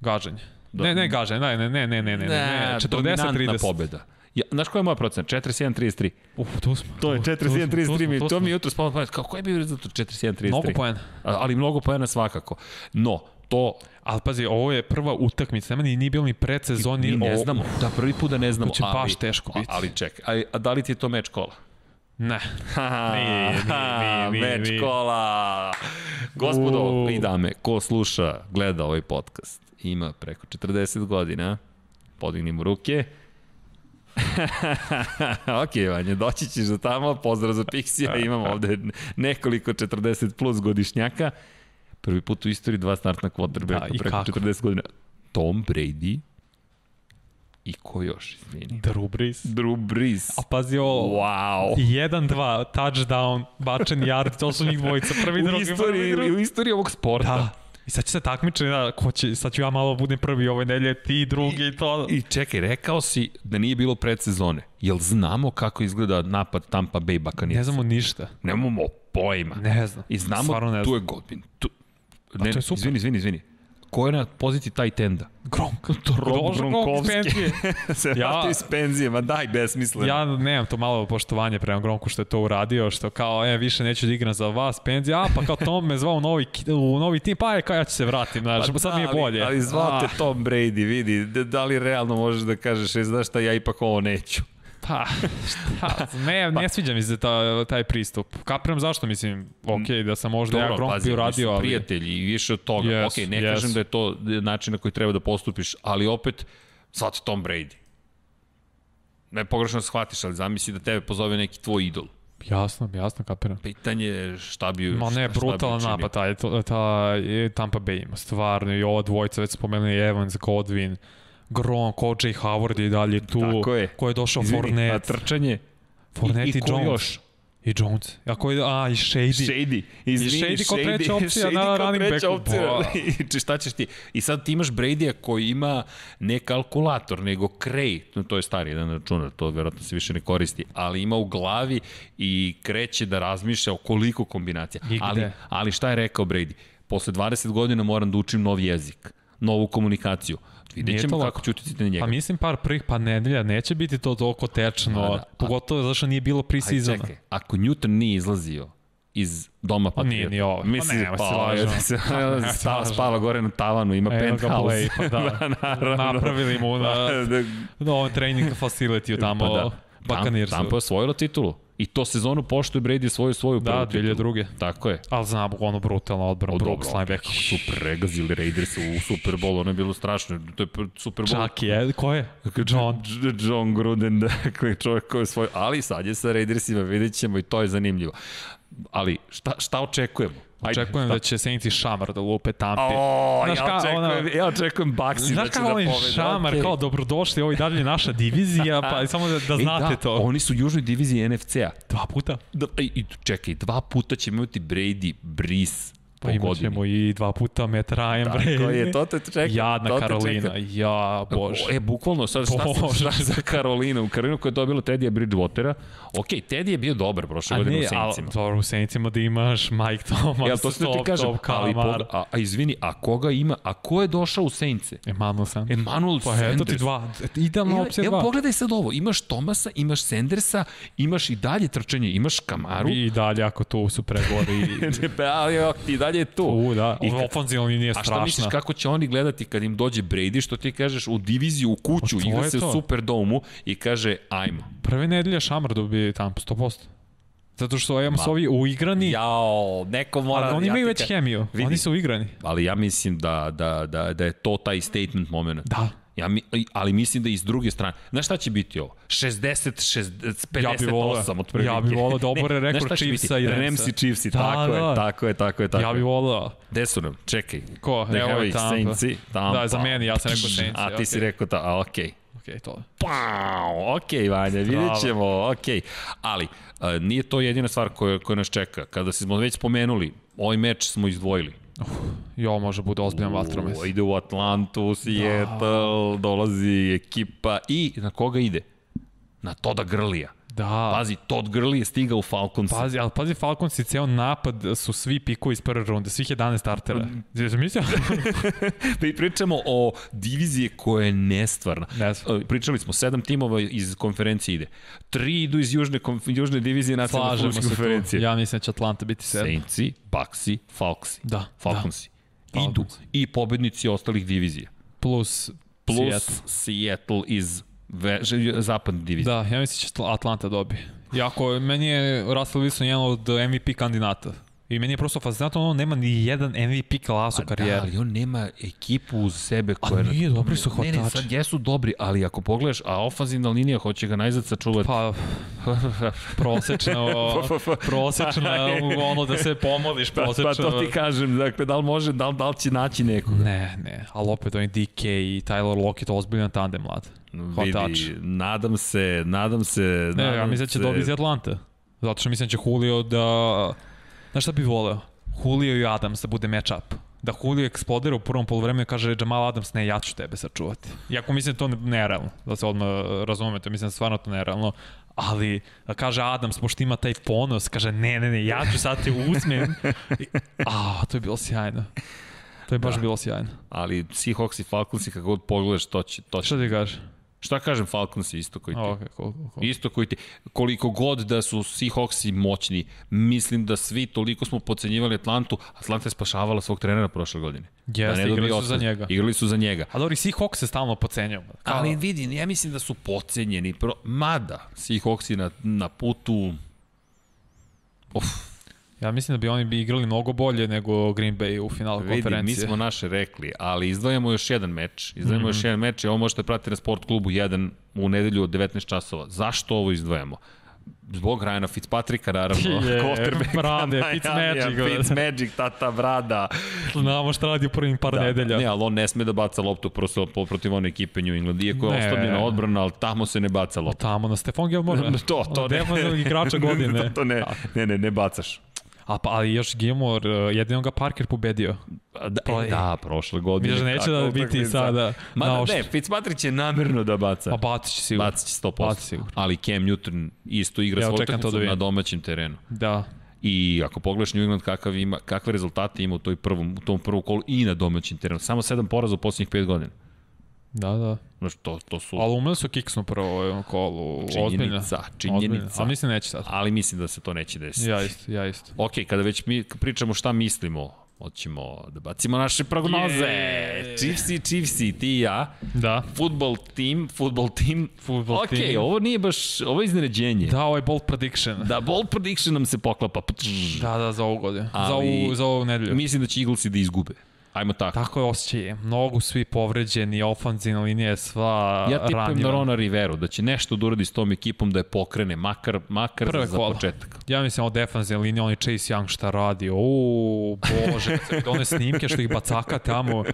gaženje. Da. Ne, ne, gaženje, ne, ne, ne, ne, ne, ne, ne, 40-30. dominantna pobeda. Ja, znaš koja je moja procena? 41-33. Uf, tu smo. To je tu- tu smo, tu 41-33. smo, mi- To tu smo. mi je jutro spalo na pamet. Kao, koji je bio rezultat 41-33? Mnogo poena. A- Ali mnogo pojena svakako. No, to Ali pazi, ovo je prva utakmica, nema ni, nije bilo ni predsezon, ni ni ne ovo- znamo. Da, prvi put da ne znamo. To će baš teško biti. Ali čekaj, a, a da li ti je to meč kola? Ne. Nije, nije, Haha, nije, meč nije. kola. Gospodo Uuu. i dame, ko sluša, gleda ovaj podcast, ima preko 40 godina, podignimo ruke. ok, Vanja, doći ćeš do tamo, pozdrav za Pixija, imamo ovde nekoliko 40 plus godišnjaka. Prvi put u istoriji dva startna Da, quarterbacka i da, preko kako? 40 godina. Tom Brady i ko još, izvini? Drew Brees. Drew Brees. A pazi ovo, Wow. 1-2, touchdown, bačen yard, to su njih dvojica, prvi, u drugi, prvi, istoriji, drugi. u istoriji ovog sporta. Da. I sad će se takmiče, da, ko će, sad ću ja malo budem prvi ove nelje, ti drugi i to. Da. I čekaj, rekao si da nije bilo predsezone. Jel znamo kako izgleda napad Tampa Bay Buccaneers? Ne znamo ništa. Nemamo pojma. Ne znam. I znamo, Stvarno ne tu znam. je Godwin. Tu... Ne, to je super. izvini, izvini, izvini. Ko je na poziciji taj tenda? Gronk. Rob Gronkovski. Gronkovski. Se vratio iz penzije, ma daj, besmisleno. Ja nemam to malo poštovanje prema Gronku što je to uradio, što kao, e, više neću da igram za vas, Penzi, a pa kao Tom me zvao u novi, ki- u novi tim, pa je kao ja ću se vratim, znaš, pa, sad mi je bolje. da, Ali, ali A, zvate Tom Brady, vidi, da, da li realno možeš da kažeš, e, znaš šta, ja ipak ovo neću. Pa, šta, ne, Pa- ne sviđa mi se ta, taj pristup. Kapiram zašto, mislim, okej, da sam možda ja Gronk bi uradio, oni su ali... prijatelji i više od toga. Yes, Yes, ok, ne yes. yes. kažem da je to način na koji treba da postupiš, ali opet, sad Tom Brady. Ne pogrešno shvatiš, ali zamisli da tebe pozove neki tvoj idol. Jasno, jasno, kapiram. Pitanje je šta bi... Ma ne, šta- šta bi brutalan učinio. napad, taj, to- taj e, Tampa Bay ima, stvarno, i ova dvojica, već spomenuli Evans, Godwin, Gronk, O.J. Howard i dalje tu, Tako je. ko je došao Izvini, a Fornet, trčanje? Fornet i, i, i ko Jones. još? I Jones. A, koji, a i Shady. Shady. Izvini, I Shady kao treća opcija Shady na kao running treća backu. Pa. opcija. Boa. I či- šta ćeš ti? I sad ti imaš Brady-a koji ima ne kalkulator, nego krej. No, To je stari jedan računar, to verovatno se više ne koristi. Ali ima u glavi i kreće da razmišlja o koliko kombinacija. I gde? Ali, ali šta je rekao Brady? Posle 20 godina moram da učim nov jezik, novu komunikaciju. Nije Vidjet to ćemo lako. kako ću uticiti na njega. Pa mislim par prvih pa nedelja neće biti to toliko tečno, Da, da. pogotovo zato što nije bilo Aj, pre-seasona. čekaj, ako Newton nije izlazio iz doma Pa nije Patriota, ni ovaj. Pa Misli, nemoj pa, se pa ovaj, lažemo. se, Pa nemoj se spava, lažemo. spava gore na tavanu, ima Evo ga penthouse. play, pa da. naravno. Napravili mu na, da, na ovom trening facility tamo, pa da. Buccaneersu. Tampa je osvojila titulu. I to sezonu pošto je Brady svoju svoju Da, prvu titulu. 2002. Tako je. Ali znam, ono brutalna odbrana, Brooks, linebacker. kako su pregazili Raiders u Super Bowl, ono je bilo strašno. To je pr- Super Bowl. Čak je, ko je? John. Dž- John Gruden, dakle, čovjek koji je svoj... Ali sad je sa Raidersima, vidjet ćemo i to je zanimljivo. Ali šta, šta očekujemo? Ajde, Očekujem šta? da će Saints i Šamar da lupe Tampi. O, Znaš ja, kao očekujem, ona- ja očekujem Baxi da Znaš će kako da oni povede. Šamar, okej. kao dobrodošli, ovo i dalje je naša divizija, pa samo da, da Ej, znate da, to. Oni su u južnoj diviziji NFC-a. Dva puta. Da, i, i, čekaj, dva puta ćemo imati Brady, Brees po Pa imat godini. ćemo i dva puta Matt Ryan, Tako bre. je, to te čeka. Jadna to da te Karolina, čeka. ja, bože. Bože. E, bukvalno, sad šta Bože. Bože. sam šta za Karolinu? Karolinu koja je dobila Teddy'a Bridgewatera. Ok, Teddy je bio dobar prošle godine u ali Saintsima. dobro, u Senicima da imaš Mike Thomas, Ja, to se ti top, kažem, top, ali Kalmar, pogled- a, a izvini, a koga ima, a ko je došao u Saintse? Emmanuel Sanders. Emmanuel Pa Sanders. eto ti dva, idealna Evo, opcija evo dva. pogledaj sad ovo, imaš Tomasa, imaš Sandersa, imaš i dalje trčanje, imaš Kamaru. I... I dalje, ako tu su pregovori. ali ok, ti dalje je tu. U, da, I kad- ofenzivna linija je A šta strašna. misliš kako će oni gledati kad im dođe Brady, što ti kažeš u diviziju, u kuću, Pa to je igra se to. u Superdomu i kaže ajmo. Prve nedelje Šamar dobije Tampa, 100%. Zato što Emos Ma. ovi uigrani, ja, Jao, neko mora... ali oni imaju već hemiju, vidi. oni su uigrani. Ali ja mislim da, da, da, da je to taj statement moment. Da. Ja mi, ali mislim da i s druge strane. Znaš šta će biti ovo? 60, 60 58 Ja bi voleo. otprilike. Ja bi voleo da Ne, obore znaš rekord šta će Chiefsa biti? i Ramsa. Ramsi Chiefsi, Da, tako da. je, tako je, tako je. Tako. Ja bi volao. Gde su nam? Čekaj. Ko? Da, Evo evo je i Tampa. Saintsi, Tampa. Da, za meni, ja sam rekao Saintsi, A ti si okej. rekao ta, a okej. Okej, to je. Pau, ok, Vanja, vidjet ćemo, ok. Ali, a, nije to jedina stvar koja, koja nas čeka. Kada smo već spomenuli, ovaj meč smo izdvojili. Jo, može bude ozbiljan vatromes. U, ide u Atlantu, Da. Seattle, dolazi ekipa i na koga ide? Na Toda Grlija. Da. Pa- Pazi, Todd Gurley je stigao u Falconsa. Pazi, ali pazi Falcons i ceo napad su svi pikovi iz prve runde, svih 11 startera. Jesi mislio? Pri, Da pričamo o diviziji koja je nestvarna. Ne znam. E, Pričali smo, sedam timova iz konferencije ide. Tri idu iz južne, konf, južne divizije nacionalne Slažemo futbolske se tu. konferencije. Ja mislim da će Atlanta biti sedam. Saintsi, Baxi, Falksi. Da, Falconsi. Da. Idu Falconsi. i pobednici ostalih divizija. Plus, Plus Seattle. Seattle, iz ve, ž- zapadne divizije. Da, ja mislim da će Atlanta dobije. Jako, meni je Russell Wilson jedan od MVP kandidata. I meni je prosto fascinantno, on nema ni jedan MVP klas u Pa Da, karijeri. ali on nema ekipu uz sebe koja... je na- nije, dobri su Ne, ne, hvatači. sad jesu dobri, ali ako pogledaš, a ofanzivna linija hoće ga najzad sačuvati. Pa, prosečna, pa. prosečna, ono da se pomoliš, Pa, prosečna. pa to ti kažem, dakle, da li može, da li, da li će naći nekog? Ne, ne, ali opet oni DK i Tyler Lockett, ozbiljan tandem, mlad. Hvatač. Vidi, nadam se, nadam se... Ne, nadam ja mislim da će se- dobiti iz Atlante. Zato što mislim da će Julio da... Znaš šta bi voleo? Julio i Adams da bude match-up. Da Julio eksplodira u prvom polovremenu i kaže Jamal Adams, ne, ja ću tebe sačuvati. Iako mislim da to ne- nerealno, da se odmah e, razumete, mislim da stvarno to nerealno. Ali da kaže Adams, pošto ima taj ponos, kaže ne, ne, ne, ja ću sad te uzmem. I- A, to je bilo sjajno. To je baš Da. bilo sjajno. Ali Seahawks i Falconsi, kako god pogledaš, to će... To će. Šta ti kažeš? Šta kažem Falconsi isto koji ti? A, okay, cool, cool, cool. Isto koji ti, koliko god da su Seahawksi moćni, mislim da svi toliko smo pocenjivali Atlantu, Atlanta je spašavala svog trenera prošle godine. Da Jeste, dobije igrali su za otkaz. njega. Igrali su za njega. A dobro, i Seahawks se stalno pocenjamo. Kao- Ali vidi, ja mislim da su pocenjeni, pro, mada Seahawksi na, na putu Ja mislim da bi oni bi igrali mnogo bolje nego Green Bay u finalu Vidi, mi konferencije. Mhm. smo naše rekli, ali izdvajamo još jedan meč. Izdvajamo mm -hmm. još jedan meč i ovo možete pratiti na Sport klubu 1 u nedelju od 19 časova. Zašto ovo izdvajamo? Zbog Ryana Fitzpatricka, naravno. Je, Quarterbacka brade, Miamija, Fitzmagic, Fitzmagic, tata, brada. Znamo šta radi u prvim par da, nedelja. Ne, ali on ne sme da baca loptu prosto protiv one ekipe New England. Iako je Ne. ostavljena odbrana, ali tamo se ne baca lopta. Tamo na Stefan Gilmore. To, to Ono, ne. Defanzivnog igrača godine. to, to ne, ne, ne, ne bacaš. A pa, ali još Gilmore, eh, jedino ga Parker pobedio. Da, Pa, e, da, prošle godine. Vidiš da neće Tako da biti utakmica. sada Ma na da, ne, oštru. Fitzpatrick će namerno da baca. Pa Batić sigurno. Baci će 100%. Baci sigurno. Ali Cam Newton isto igra Ja ja, svoju očekujem to utakmicu da vidim. na domaćem terenu. Da. I ako pogledaš New England kakav ima, kakve rezultate ima u, toj prvom, u tom prvom kolu i na domaćem terenu. Samo sedam poraza u posljednjih pet godina. Da, da. Znači, to, to su... Ali umeli su kiksnu prvo u ovom kolu. Činjenica, Ozbiljno. činjenica. Ozbiljno. Ali mislim neće sad. Ali mislim da se to neće desiti. Ja isto, ja isto. Ok, kada već mi pričamo šta mislimo, hoćemo da bacimo naše prognoze. Je. Chiefsi, Chiefsi, ti i ja. Da. Futbol tim, futbol tim. Futbol ok, tim. ovo nije baš, ovo je iznenađenje. Da. Da, ovo je bold prediction. Da, da, ball prediction nam se poklapa. Ptš. da, za ovu godinu. Za Ali- ovu, za ovu nedelju. Mislim da će Eaglesi da izgube. Ajmo tako. Tako je osjećaj. Mnogo svi povređeni, ofanzivna linija je sva Ja tipujem ranjiva. na Rona Riveru, da će nešto da uradi s tom ekipom da je pokrene, makar, makar Prve za kola. početak. Ja mislim o defanzivnoj liniji, oni Chase Young šta radi. O, bože, kad sam vidio one snimke što ih bacaka tamo.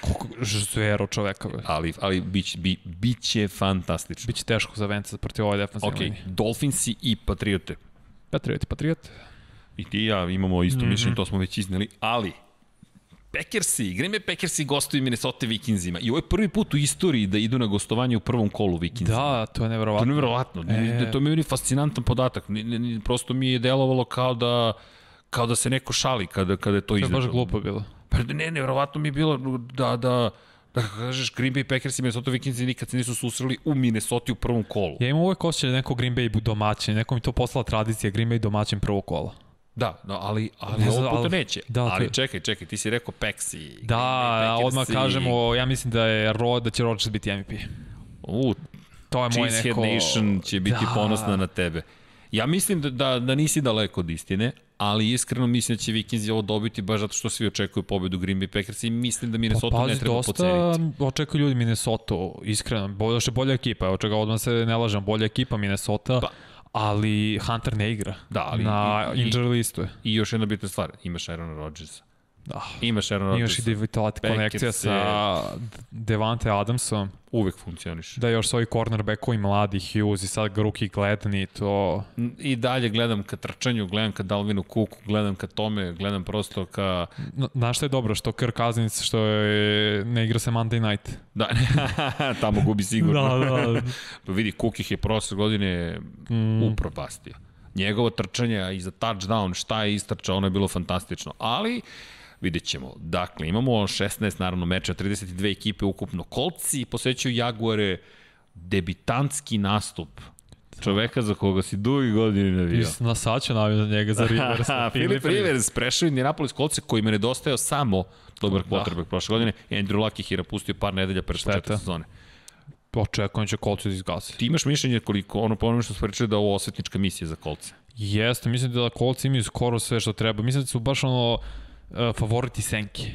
Koliko žvero čoveka. Be. Ali, ali bić, bi, biće fantastično. Biće teško za Venca protiv ove defanzivne ok, linije. Dolfinsi i Patriote. Patriot, Patriot. I ti i ja imamo isto mm -hmm. mišljenje, to smo već izneli, ali Packersi, Green Bay Packersi gostuju Minnesota Vikingsima i ovo je prvi put u istoriji da idu na gostovanje u prvom kolu Vikingsima. Da, to je To je nevjerovatno. nevjerovatno. E... To mi je meni fascinantan podatak. Ni, ni, ni, prosto mi je delovalo kao da kao da se neko šali kada, kada je to To je izdato. baš glupo bilo. Pa ne, nevjerovatno mi je bilo da, da, da kažeš Green Bay Packers i Minnesota Vikingsi nikad se nisu susreli u Minnesota u prvom kolu. Ja imam uvek osjećaj da neko Green Bay bu- domaćin, neko mi to poslala tradicija Green Bay domaćin prvo kola. Da, da ali, ali Ne ne znam, ovo puta ali- neće. da, Da, to ali je- čekaj, čekaj, ti si rekao Pexi. Da, odmah kažemo, ja mislim da je Ro, da će Rodgers biti MVP. U, To je moj Cheesehead Pa neko... Nation će biti Da. da. ponosna na tebe. Ja mislim da, da, da nisi daleko od istine, ali iskreno mislim da će Vikingsi ovo dobiti baš zato što svi očekuju pobedu Green Bay Packers i mislim da Minnesota pa, pazi, ne treba dosta... dosta poceniti. očekuju ljudi Minnesota, iskreno. Bolje što je bolja ekipa, evo čega odmah se ne lažem, bolja ekipa Minnesota, Pa. ali Hunter ne igra. Da, ali Na i- i- injury listu je. I još jedna bitna stvar, imaš Aaron Rodgersa. Ah, Imaš Aaron Rodgers. imaš i Devitat konekcija Packers je- sa Devante Adamsom, Uvek funkcioniš. da još svoji cornerbackovi mladi Hughes i sad Gruki Gledni, to... I dalje gledam ka trčanju, gledam ka Dalvinu Kuku, gledam ka tome, gledam prosto ka... Na- Znaš što je dobro? Što Kirk Cousins, što je, ne igra se Monday night. Da, tamo gubi sigurno. da. Pa vidi, Cook ih je prošle godine mm. upropastio. Njegovo trčanje i za touchdown, šta je istrčao, ono je bilo fantastično. Ali, vidjet ćemo. Dakle, imamo 16, naravno, meča, 32 ekipe ukupno. Kolci posećuju Jaguare debitanski nastup čoveka za koga si dugi godine I navio. na sad ću navio za njega, za Rivers. Ha, Filip Rivers prešao je Indianapolis Colts koji mi nedostajao samo dobar quarterback prošle godine. Andrew Luck ih je napustio par nedelja pre početka Šteta. sezone. Očekujem da će Colts izgasiti. Ti imaš mišljenje koliko ono ponovno što smo pričali da je ovo osvetnička misija za kolce. Jeste, mislim da Colts imaju skoro sve što treba. Mislim da su baš ono e, favoriti senke.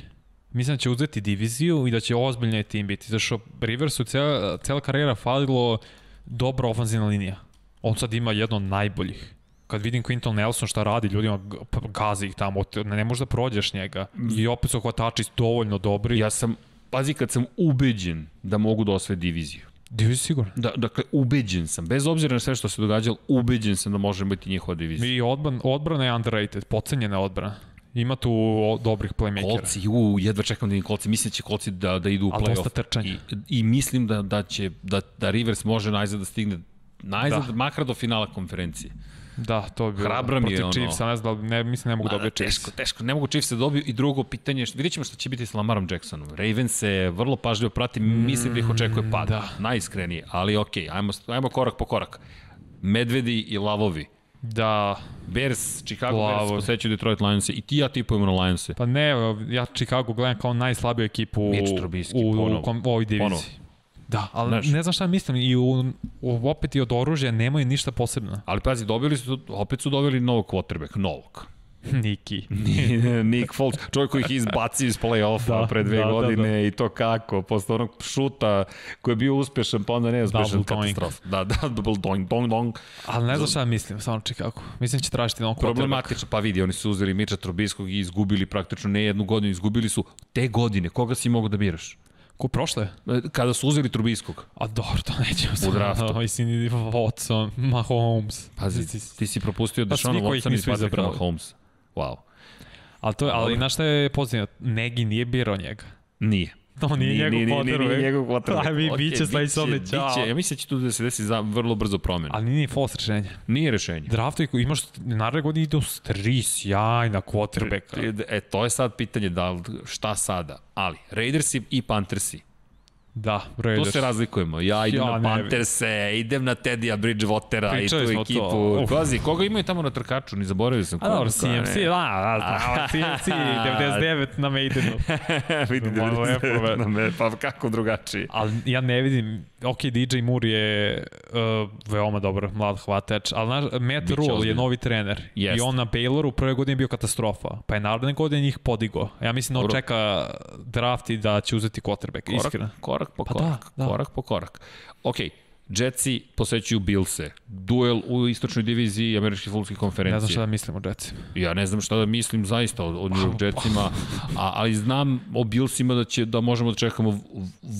Mislim da će uzeti diviziju i da će ozbiljnije tim biti. Zato što Riversu cela, cela karijera falilo dobra ofanzivna linija. On sad ima jedno od najboljih. Kad vidim Quinton Nelson šta radi ljudima, g- pa gazi ih tamo, te- ne možeš da prođeš njega. I opet su hvatači dovoljno dobri. Ja. Ja sam, pazi kad sam ubeđen da mogu da osvoje diviziju. Diviziju sigurno. Da, dakle, ubeđen sam. Bez obzira na sve što se događalo, ubeđen sam da može biti njihova divizija. I odbran, odbrana je underrated, pocenjena je odbrana. Ima tu o, dobrih playmakera. Kolci, u, jedva čekam da im kolci. Mislim da će kolci da, da idu u Ali dosta play-off. trčanja. I, I mislim da, da, će, da, da Rivers može najzad da stigne najzad, da. Da. makar do finala konferencije. Da, to bi bilo. Hrabro mi je ono. Protiv Chiefsa, ne znam, da li- ne, mislim ne mogu Pa dobiti Chiefs. teško, teško. Ne mogu Chiefs se dobiju. I drugo pitanje, je što- vidjet ćemo što će biti s Lamarom Jacksonom. Raven se vrlo pažljivo prati, mislim da Mm, ih očekuje pad. Da. Najiskrenije, ali okej, ajmo, ajmo korak po korak. Medvedi i lavovi. Da, Bears, Chicago Bears Lavovi. posećuju Detroit Lions i ti i ja tipujemo na Lions. pa ne, ja Chicago gledam kao najslabiju ekipu u, Mitch Trubisky, u, ponovo. u, kom, ovoj diviziji. Ponovo. Da, ali Znaš. ne znam šta mislim. I u, u, opet i od oružja nemaju ništa posebno. Ali pazi, dobili su, opet su doveli novog quarterback, novog. Niki. Nick Foles, čovjek koji ih je izbacio iz play-offa da, Da, pre dve da, da, da, godine da, da. i to kako, posle onog šuta koji je bio uspešan, pa onda neuspešan, Double doink. katastrof. Da, da, double doink, dong, dong. Ali ne znam šta mislim, samo Chicago. Mislim da će tražiti novog quarterbacka. Problematično, pa vidi, oni su uzeli Miča Trobiskog i izgubili praktično ne jednu godinu, izgubili su te godine, koga si mogao da biraš? Ko prošle? E, Kada su uzeli Trubiskog, A dobro, to nećemo sad. draftu. Mislim, Watson, Mahomes. pazi, ti si propustio Pa Dešana svi koji ih Watson i nisu Patrika izabrali. Mahomes. Wow. Ali, to, je- ali Dobro. znaš šta je pozitivno? Negi nije birao njega. Nije. To nije njegov Nije, nije, quarterback. nije njegov quarterback. A vi Okej, biće sledeće godine, biće- ćao. Ja mislim da će tu da se desi za vrlo brzo promjena. Ali nije ni false rešenje. Nije rešenje. draftovi koji imaš naredne godine idu s tri sjajna quarterbacka. E, to je sad pitanje da li, šta sada. Ali, Raidersi i Panthersi. Da, Tu Raiders. se razlikujemo. Ja idem Ja ja, na ne Pantherse, idem na Teddy'a Bridgewatera i Pričali tu smo to. ekipu. Uf. Pazi, koga imaju tamo na trkaču? Ni zaboravio sam. A dobro, CMC, da, da, da, CMC, 99 na Maidenu. Vidi, Malo je prve. me, pa kako drugačije? Ali ja ne vidim, ok, DJ Moore je uh, veoma dobar mlad hvatač, ali naš, Matt Biće Rule je ozbiljan. novi trener. Jeste. I on na Bayloru prve godine je bio katastrofa, pa je naredne godine njih podigo. Ja mislim da on Dobro. čeka draft i da će uzeti quarterback, korak, iskreno. korak po Pa da, korak, da, da. korak po korak. Ok, Jetsi posećuju Bilse. Duel u istočnoj diviziji američke futbolske konferencije. Ne znam šta da mislim o Jetsima. Ja ne znam šta da mislim zaista o, o New York Jetsima, a, ali znam o Billsima da, će, da možemo da čekamo v-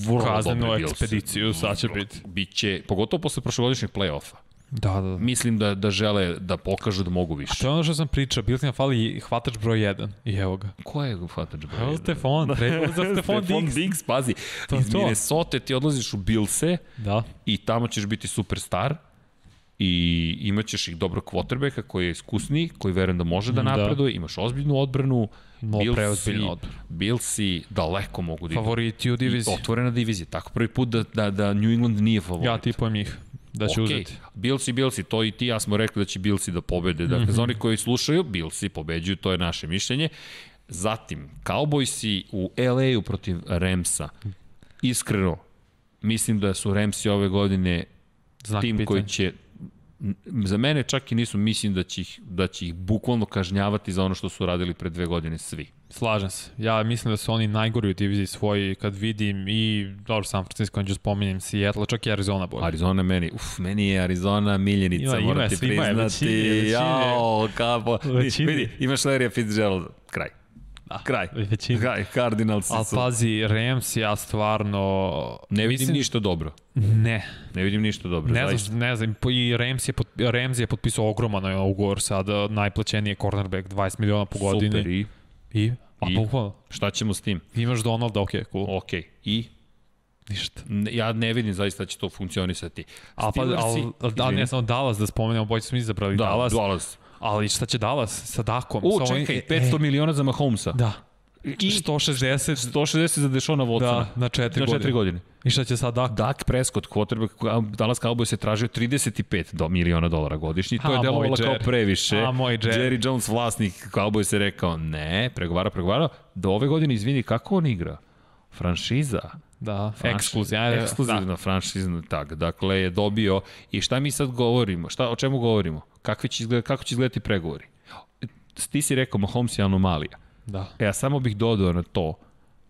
vrlo Kaznenu dobre Billse. Mm, ekspediciju, sad će biti. Biće, pogotovo posle prošlogodišnjeg play-offa. Da, da, da. Mislim da, da žele da pokažu da mogu više. To je ono što sam pričao, Bilsima fali hvatač broj Da 1 i evo ga. Ko je hvatač broja? Evo Stefan, Da, treba da za Stefan Diggs. Diggs, pazi. To je Iz to. Minnesota ti odlaziš u Billse, Da. i tamo ćeš biti superstar i imaćeš ih dobrog quarterbacka koji je iskusniji, koji verujem da može da Da. napreduje, imaš ozbiljnu odbranu, No, preozbiljnu odbranu. Billsi daleko mogu da idu. Favoriti u diviziji. Otvorena divizija, tako prvi put da, da, da New England nije favorit. Ja tipujem njih da će uzeti. Bilsi, Bilsi, to i ti ja smo rekli da će Bilsi da pobede. Mhm. Dakle, mm -hmm. za oni koji slušaju, Bilsi pobeđuju, to je naše mišljenje. Zatim, Cowboysi u LA-u protiv Ramsa. Iskreno, mislim da su Ramsi ove godine Znak tim pitanja. koji će m, za mene čak i nisu mislim da će ih da će ih bukvalno kažnjavati za ono što su radili pre dve godine svi. Slažem se. Ja mislim da su oni najgori u diviziji svoji kad vidim i, dobro, San Francisco, neću spominjem Seattle, čak i Arizona bolje. Arizona meni, uf, meni je Arizona miljenica, Ima- ima, ima, moram ti svima je, priznati. većini je, većini je. Jao, kapo. Većini. Vidi, imaš Larry Fitzgerald, kraj. Kraj. Većina. Kraj, Cardinals Ali su... pazi, Rams ja stvarno... Ne vidim pa, mislim- ništa dobro. Ne, Ne vidim ništa dobro, ne zaista. znam, ne znam. po- I Rams je, pot, Rams je potpisao ogroman ovaj ugovor sada, najplaćeniji je cornerback, 20 miliona po godini. Super, i I? Pa, I? bukvalno. šta ćemo s tim? Imaš Donalda, ok, cool. Ok, i Ništa. Ne, ja ne vidim zaista da će to funkcionisati. A pa, Steelersi- al, da, ne Izvini. samo Dallas da spomenemo, bojice smo izabrali da, Dallas, Dallas. Dallas. ali šta će Dallas sa Dakom? U, Sa ovim- čekaj, e, 500 e, miliona za Mahomesa. Da. I 160 160 za Dešona Watsona. da, na 4 na 4 godine. I šta će sad Dak? Dak Prescott, quarterback Dallas Cowboys je tražio 35 do miliona dolara godišnji, to A, je moj delovalo kao Jerry. previše. A, moj Jerry. Jerry Jones, vlasnik Cowboys je rekao ne, pregovara, pregovara, do ove godine, izvini, kako on igra? Franšiza. Da, Franš- ekskluzivno. ajde, Ekskluzivno, da. franšizno, tak. Dakle, je dobio, i šta mi sad govorimo? Šta, o čemu govorimo? Kakvi će izgled, kako će izgledati pregovori? Ti si rekao, Mahomes je anomalija. Da. E, ja samo bih dodao na to,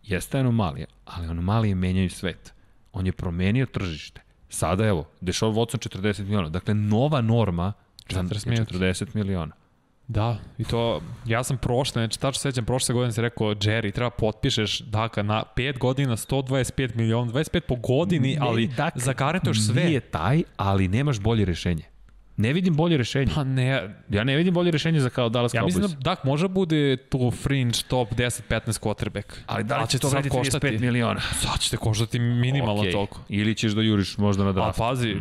jeste anomalija, ali anomalije menjaju svet. On je promenio tržište. Sada, evo, Deshaun Watson 40 miliona. Dakle, nova norma za 40 je miliona. 40 miliona. Da, i to, ja sam prošle, znači tačno sećam, prošle godine si rekao, Jerry, treba potpišeš Daka na 5 godina, 125 miliona, 25 po godini, ali Dak zagarantuješ sve. Nije taj, ali nemaš bolje rešenje. Ne vidim bolje rešenje. Pa ne, Ja ne vidim bolje rešenje za kao Dallas ja Cowboys. mislim da Dak može bude tu fringe top 10-15 quarterback. ali da li Ali će to sad vrediti 35 miliona? Sad će te koštati minimalno Okej. okay. toliko. Ili ćeš da juriš možda na Da. A draft. pazi,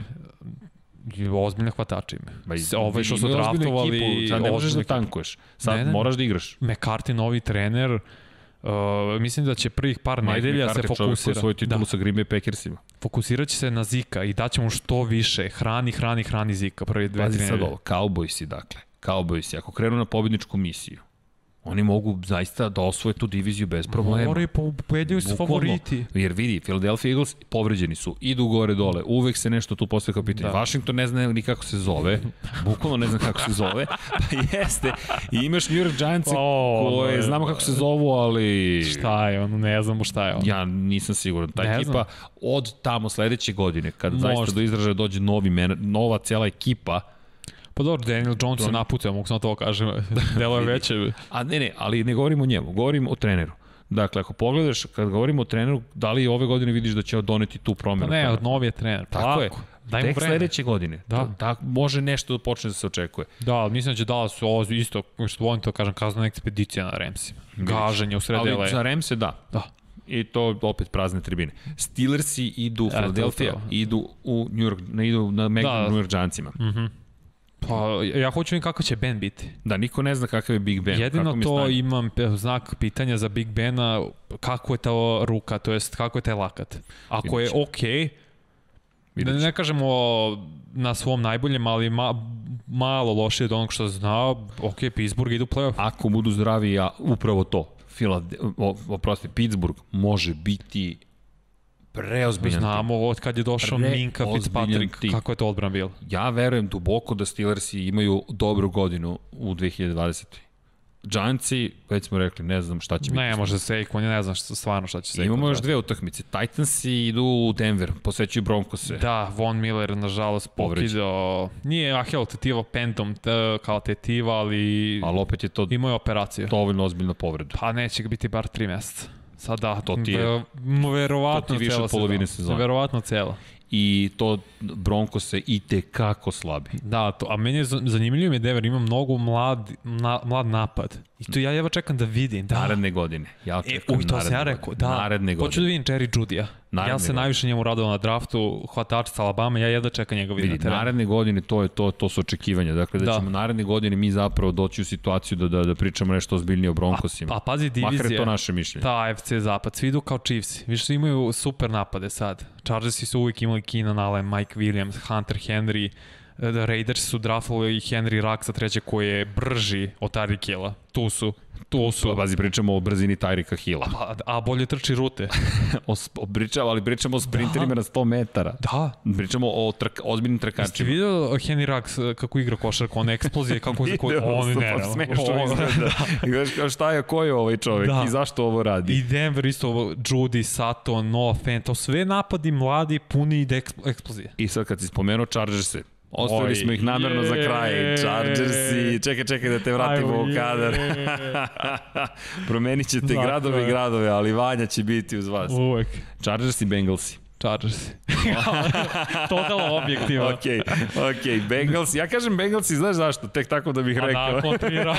i ozbiljne hvatače ime. Ma, Se, ove ovaj što su imaju ozbiljnu draftovali... ekipu, Sad ne možeš ozbiljnu da ekipu. tankuješ. Sad Ne, ne, ne. moraš da igraš. McCarthy, novi trener, uh, mislim da će prvih par Mike nedelja se McCarthy, čovjek koji je fokusira. svoju titulu Da, sa Green Bay Packersima. fokusirat će se na Zika i daće mu što više. Hrani, hrani, hrani Zika prvi dve, Pazi tri sad nedelje. ovo, Cowboysi dakle, Cowboysi, ako krenu na pobedničku misiju, oni mogu zaista da osvoje tu diviziju bez problema. Moraju, pobedljuju se Bukvalno. favoriti. Jer vidi, Philadelphia Eagles povređeni su, idu gore dole, uvek se nešto tu postoje kao pitanje. Da. Da. Washington ne zna ni kako se zove, bukvalno ne zna kako se zove, pa jeste. I imaš New York Giants O, ono je- koje znamo kako se zovu, ali... Šta je ono, ne znamo šta je ono. Ja nisam siguran. Ta Ne ne ekipa od tamo sledeće godine, kad Možda. zaista Možda. do izražaja dođe novi men, nova cela ekipa, Pa dobro, Daniel Jones se naputio, mogu samo to kažem. Delo je veće. A ne, ne, ali ne govorimo o njemu, govorimo o treneru. Dakle, ako pogledaš, kad govorimo o treneru, da li ove godine vidiš da će doneti tu Pa promenu? Pa, ne, od novi je trener. Tako je. Polako, Daj mu Tek vreme. sledeće godine. Da. Da. Da, može nešto da počne da se očekuje. Da, ali mislim da će Dallas ovo isto, što volim to kažem, kazna ekspedicija na Ramsima. Gaženje u sred Ali LA. za Remse da. ovaj- Da. I to opet prazne tribine. Steelersi idu u E, to je Philadelphia, upravo. idu u New York, ne idu na Mega Da. da. New York Giantsima. Pa, ja hoću vidim kako će Ben biti. Da, niko ne zna kakav je Big Ben. Jedino kako mi to stanje. imam pe- znak pitanja za Big Bena, kako je ta ruka, to jest kako je taj lakat. Ako je Vidjet okej, Vidjet da ćemo. ne kažemo na svom najboljem, ali ma, malo lošije od onog što znao, okej, Pittsburgh ide u playoff. ako budu zdravi, ja upravo to. Filad, o, oprosti, Pittsburgh može biti preozbiljan tim. Znamo od kad je došao Pre- Minka ozbiljan Fitzpatrick, tim. kako je to odbran bilo. Ja verujem duboko da Steelersi imaju dobru godinu u 2020. Giantsi, već smo rekli, ne znam šta će biti. Ne, može Saquon, ja ne znam da. šta, stvarno šta će Saquon. Imamo još raditi. dve utakmice. Titansi idu u Denver, posećuju Broncose. Da, Von Miller, nažalost, Povređen. pokidao. Nije Ahel tetiva pentom t, kao tetiva, ali Ali opet je to imao je operaciju. dovoljno ozbiljna povreda. Pa neće ga biti bar tri meseca. da, Sada, To ti je- verovatno to ti je više cela od polovine sezona. sezone. Verovatno cela. I to Broncose i tekako slabi. Da, to, a meni je za- zanimljivo mi je Denver, ima mnogo mlad, na, mlad napad. I to ja jedva čekam da vidim. Da. Naredne godine. Ja E, očekujem uj, to sam naredne godine. ja rekao, da. Naredne godine. Hoću da vidim Jerry Judija. Naredne ja se godine. najviše njemu radao na draftu, hvatač sa Alabama, ja jedva čekam njega vidim na Vidi, terenu. naredne godine to je to, to su očekivanja. Dakle, da, Da. da. ćemo naredne godine mi zapravo doći u situaciju da, da, da pričamo nešto ozbiljnije o Broncosima. Pa pazi divizija. Makar je to naše mišljenje. Ta AFC Da, Zapad, svi idu kao Chiefs. Više su imaju super napade sad. Chargersi su uvijek imali Keenan Allen, Mike Williams, Hunter Henry. E, da, Raiders su drafali i Henry Rack sa treće koji je brži od Tarikela. Tu su. Tu Pa, su. Pazi, pričamo o brzini Tyrika Hilla. Pa, a bolje trči rute. O, sp- o pričamo, ali pričamo o sprinterima na 100 metara. Da. Pričamo o trk, ozbiljnim Jeste trkačima. vidio Henry Rax e, kako igra košarku, one eksplozije, kako za koje... Video On sam, ne, pa smešno on- izgleda. I Gledaš kao šta je, ko je ovaj čovek Da. i zašto ovo radi? I Denver isto, ovo, Judy, Sato, Noah Fent, to sve napadi mladi, puni ide eksplozije. I sad kad si spomenuo Chargers-e, Ostavili Oj, smo ih namerno za kraj. je. Chargersi, čekaj, čekaj da te vratimo Ajmo, u kadar. je. Promenit ćete Dakle. gradove i gradove, ali Vanja će biti uz vas. Uvek. Chargersi, Bengalsi. Chargers. Totalno objektivno. Ok, ok, Bengals. Ja kažem Bengalsi, znaš zašto? Tek tako da bih A rekao. da, kontrira.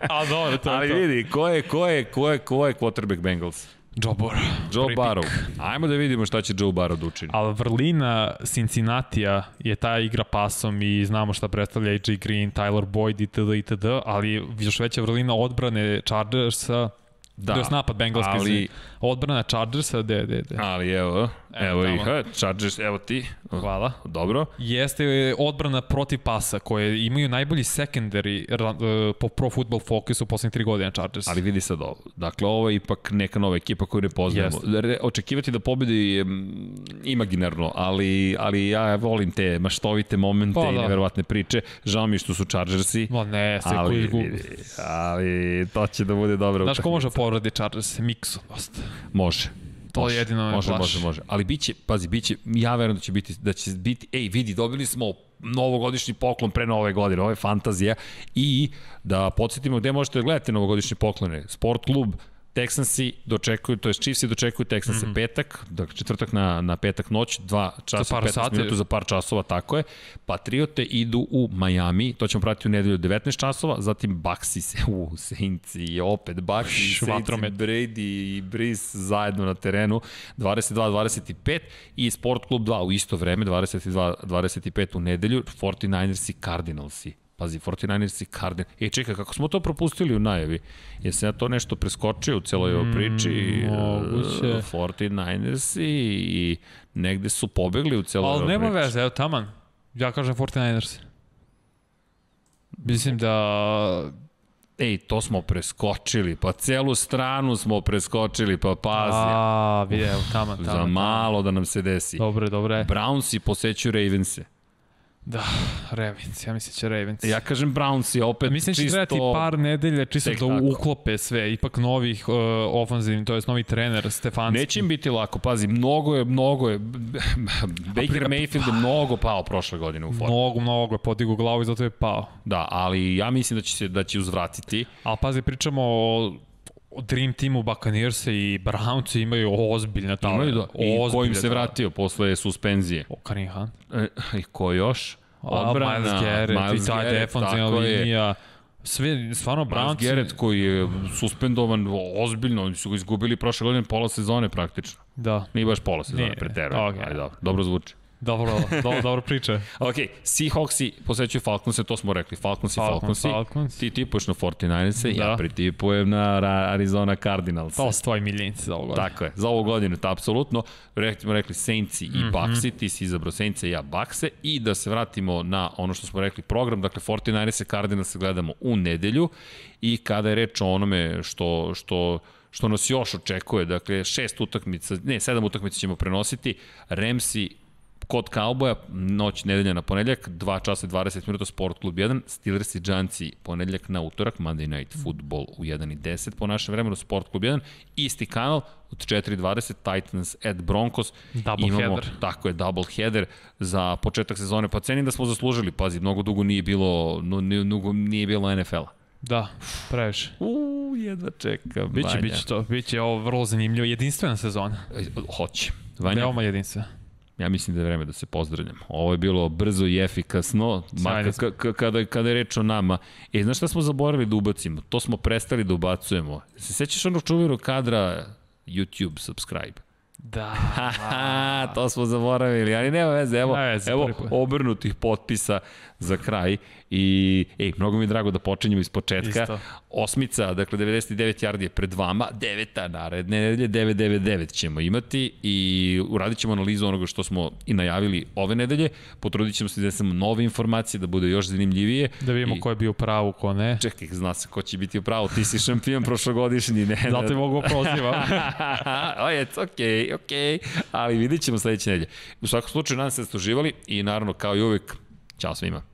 A dobro, to Ali je to. vidi, ko je, ko je, ko je, ko je quarterback Bengals? Joe Burrow. Joe Prvi Barrow. Ajmo da vidimo šta će Joe Barrow da učini. Ali vrlina Cincinnatija je ta igra pasom i znamo šta predstavlja AJ Green, Tyler Boyd itd. itd. Ali još veća vrlina odbrane Chargersa, da, to je napad Bengalski ali- ali... Odbrana Chargersa, de, de, de. Ali evo, evo, tamo. ih, e, Chargers, evo ti. Hvala. Dobro. Jeste odbrana protiv pasa koje imaju najbolji secondary ra- e, po pro football fokusu u poslednjih tri godina Chargers. Ali vidi sad ovo. Dakle, ovo je ipak neka nova ekipa koju ne poznajemo. Re, očekivati da pobedi je mm, imaginarno, ali, ali ja volim te maštovite momente Pa, i da. neverovatne priče. Žao mi je što su Chargersi, Ma ne, sve ali, koji vidi, ali to će da bude dobro. Znaš ko može povredi Chargers? Mixon, dosta. Može. To Može. jedino me može, plaši. Može, može, Ali biće, pazi, biće, ja verujem da će biti, da će biti, ej, vidi, dobili smo novogodišnji poklon pre nove godine, ovo je fantazija. I da podsjetimo gde možete da gledate novogodišnje poklone. Sport klub, Texansi dočekuju, to je Chiefsi dočekuju Texanse Mhm. mm -hmm. petak, dakle četvrtak na, na petak noć, dva časa, par 15 sati. minuta za par časova, tako je. Patriote idu u Miami, to ćemo pratiti u nedelju 19 časova, zatim Baxi, se, u, Saints i opet Baxi, Pš, Saints i vatromet. Brady i Breeze zajedno na terenu 22-25 i Sport klub 2 u isto vreme 22-25 u nedelju 49ers i Cardinalsi. Pazi, 49ers i Cardinals. E, čekaj, kako smo to propustili u najavi? Jesam ja to nešto preskočio u celoj ovoj priči? Mm, moguće. E, 49ers i, i negde su pobegli u celoj Ali ovoj nema priči. veze, evo taman. Ja kažem 49ers. Mislim da... Ej, to smo preskočili, pa celu stranu smo preskočili, pa pazi, A, vidi, evo taman, taman. za taman. malo da nam se desi. Dobre, dobre. Brownsi posećuju Ravense. Da, Ravens, ja mislim da će Ravens. Ja kažem Brownsi, opet Mislim da će čisto... trebati par nedelje čisto Tek da tako. uklope sve, ipak novih uh, ofanzivnih, to je novi trener Stefanski. Neće im biti lako, pazi, mnogo je, mnogo je, Baker Mayfield je mnogo pao prošle godine u formu. Mnogo, mnogo je podigu glavu i zato je pao. Da, ali ja mislim da će se da će uzvratiti. Ali pazi, pričamo o, o Dream Teamu Buccaneers i Browns imaju ozbiljne talente. Imaju da, I kojim se talente. vratio posle suspenzije. O, Karim Han. E, I ko još? Odbrana, Miles Garrett, Pa, Miles i ta Garrett, defensivna tako je. linija. Sve, stvarno, Miles Browns... Garrett koji je suspendovan ozbiljno, oni su ga izgubili prošle godine pola sezone praktično. Da, Nije baš pola sezone, Nije, preterujem. okej. Okay. dobro, dobro zvuči. dobro, dobro, dobro priča. Ok, Seahawksi posećuju Falconse, to smo rekli. Falconsi, Falcons, Falconsi. Falcons. Ti tipuješ na 49-e, da. Da. ja pritipujem na Ra- Arizona Cardinals. To su tvoji miljenici za ovo. Tako je, za ovu godinu, to apsolutno. Rekli smo rekli Saintsi i Baxi, ti si izabrao Saintse i ja Baxe. I da se vratimo na ono što smo rekli program, dakle 49-e Cardinals gledamo u nedelju i kada je reč o onome što, što što nas još očekuje, dakle šest utakmica, ne, sedam utakmica ćemo prenositi, Remsi kod Cowboya, noć nedelja na ponedljak, 2 časa i 20 minuta, Sport klub 1, Steelers i Giantsi ponedljak na utorak, Monday Night Football u 1 i 10 po našem vremenu, Sport klub 1, isti kanal, od 4.20 Titans at Broncos. Double header. Tako je, double header za početak sezone. Pa cenim da smo zaslužili, pazi, mnogo dugo nije bilo, no, nije, mnogo nije bilo NFL-a. Da, previše. Uuu, jedva čekam. Biće, Vanja. biće to, biće ovo vrlo zanimljivo, jedinstvena sezona. E, Hoće. Vanja, Veoma jedinstvena. Ja mislim da je vreme da se pozdravljamo. Ovo je bilo brzo i efikasno, Sjajno makar smo. k- kada, kada je reč o nama. E, znaš šta smo zaboravili da ubacimo? To smo prestali da ubacujemo. Se sećaš onog čuvenog kadra YouTube subscribe? Da. Haha, to smo zaboravili, ali nema veze, evo, Nema veze, evo prvi put. obrnutih potpisa za kraj i ej, mnogo mi je drago da počinjemo iz početka. Isto. Osmica, dakle 99 yardi je pred vama, deveta naredne nedelje, 999 ćemo imati i uradit ćemo analizu onoga što smo i najavili ove nedelje, potrudit ćemo se da smo nove informacije, da bude još zanimljivije. Da vidimo I, ko je bio u pravu, ko ne. Čekaj, zna se ko će biti u pravu, ti si šampion prošlogodišnji, ne? Zato Da te mogu prozivam. o, it's okay, okay. Ali vidit ćemo sledeće nedelje. U svakom slučaju, nadam se da ste uživali i naravno, kao i uvek, čao svima.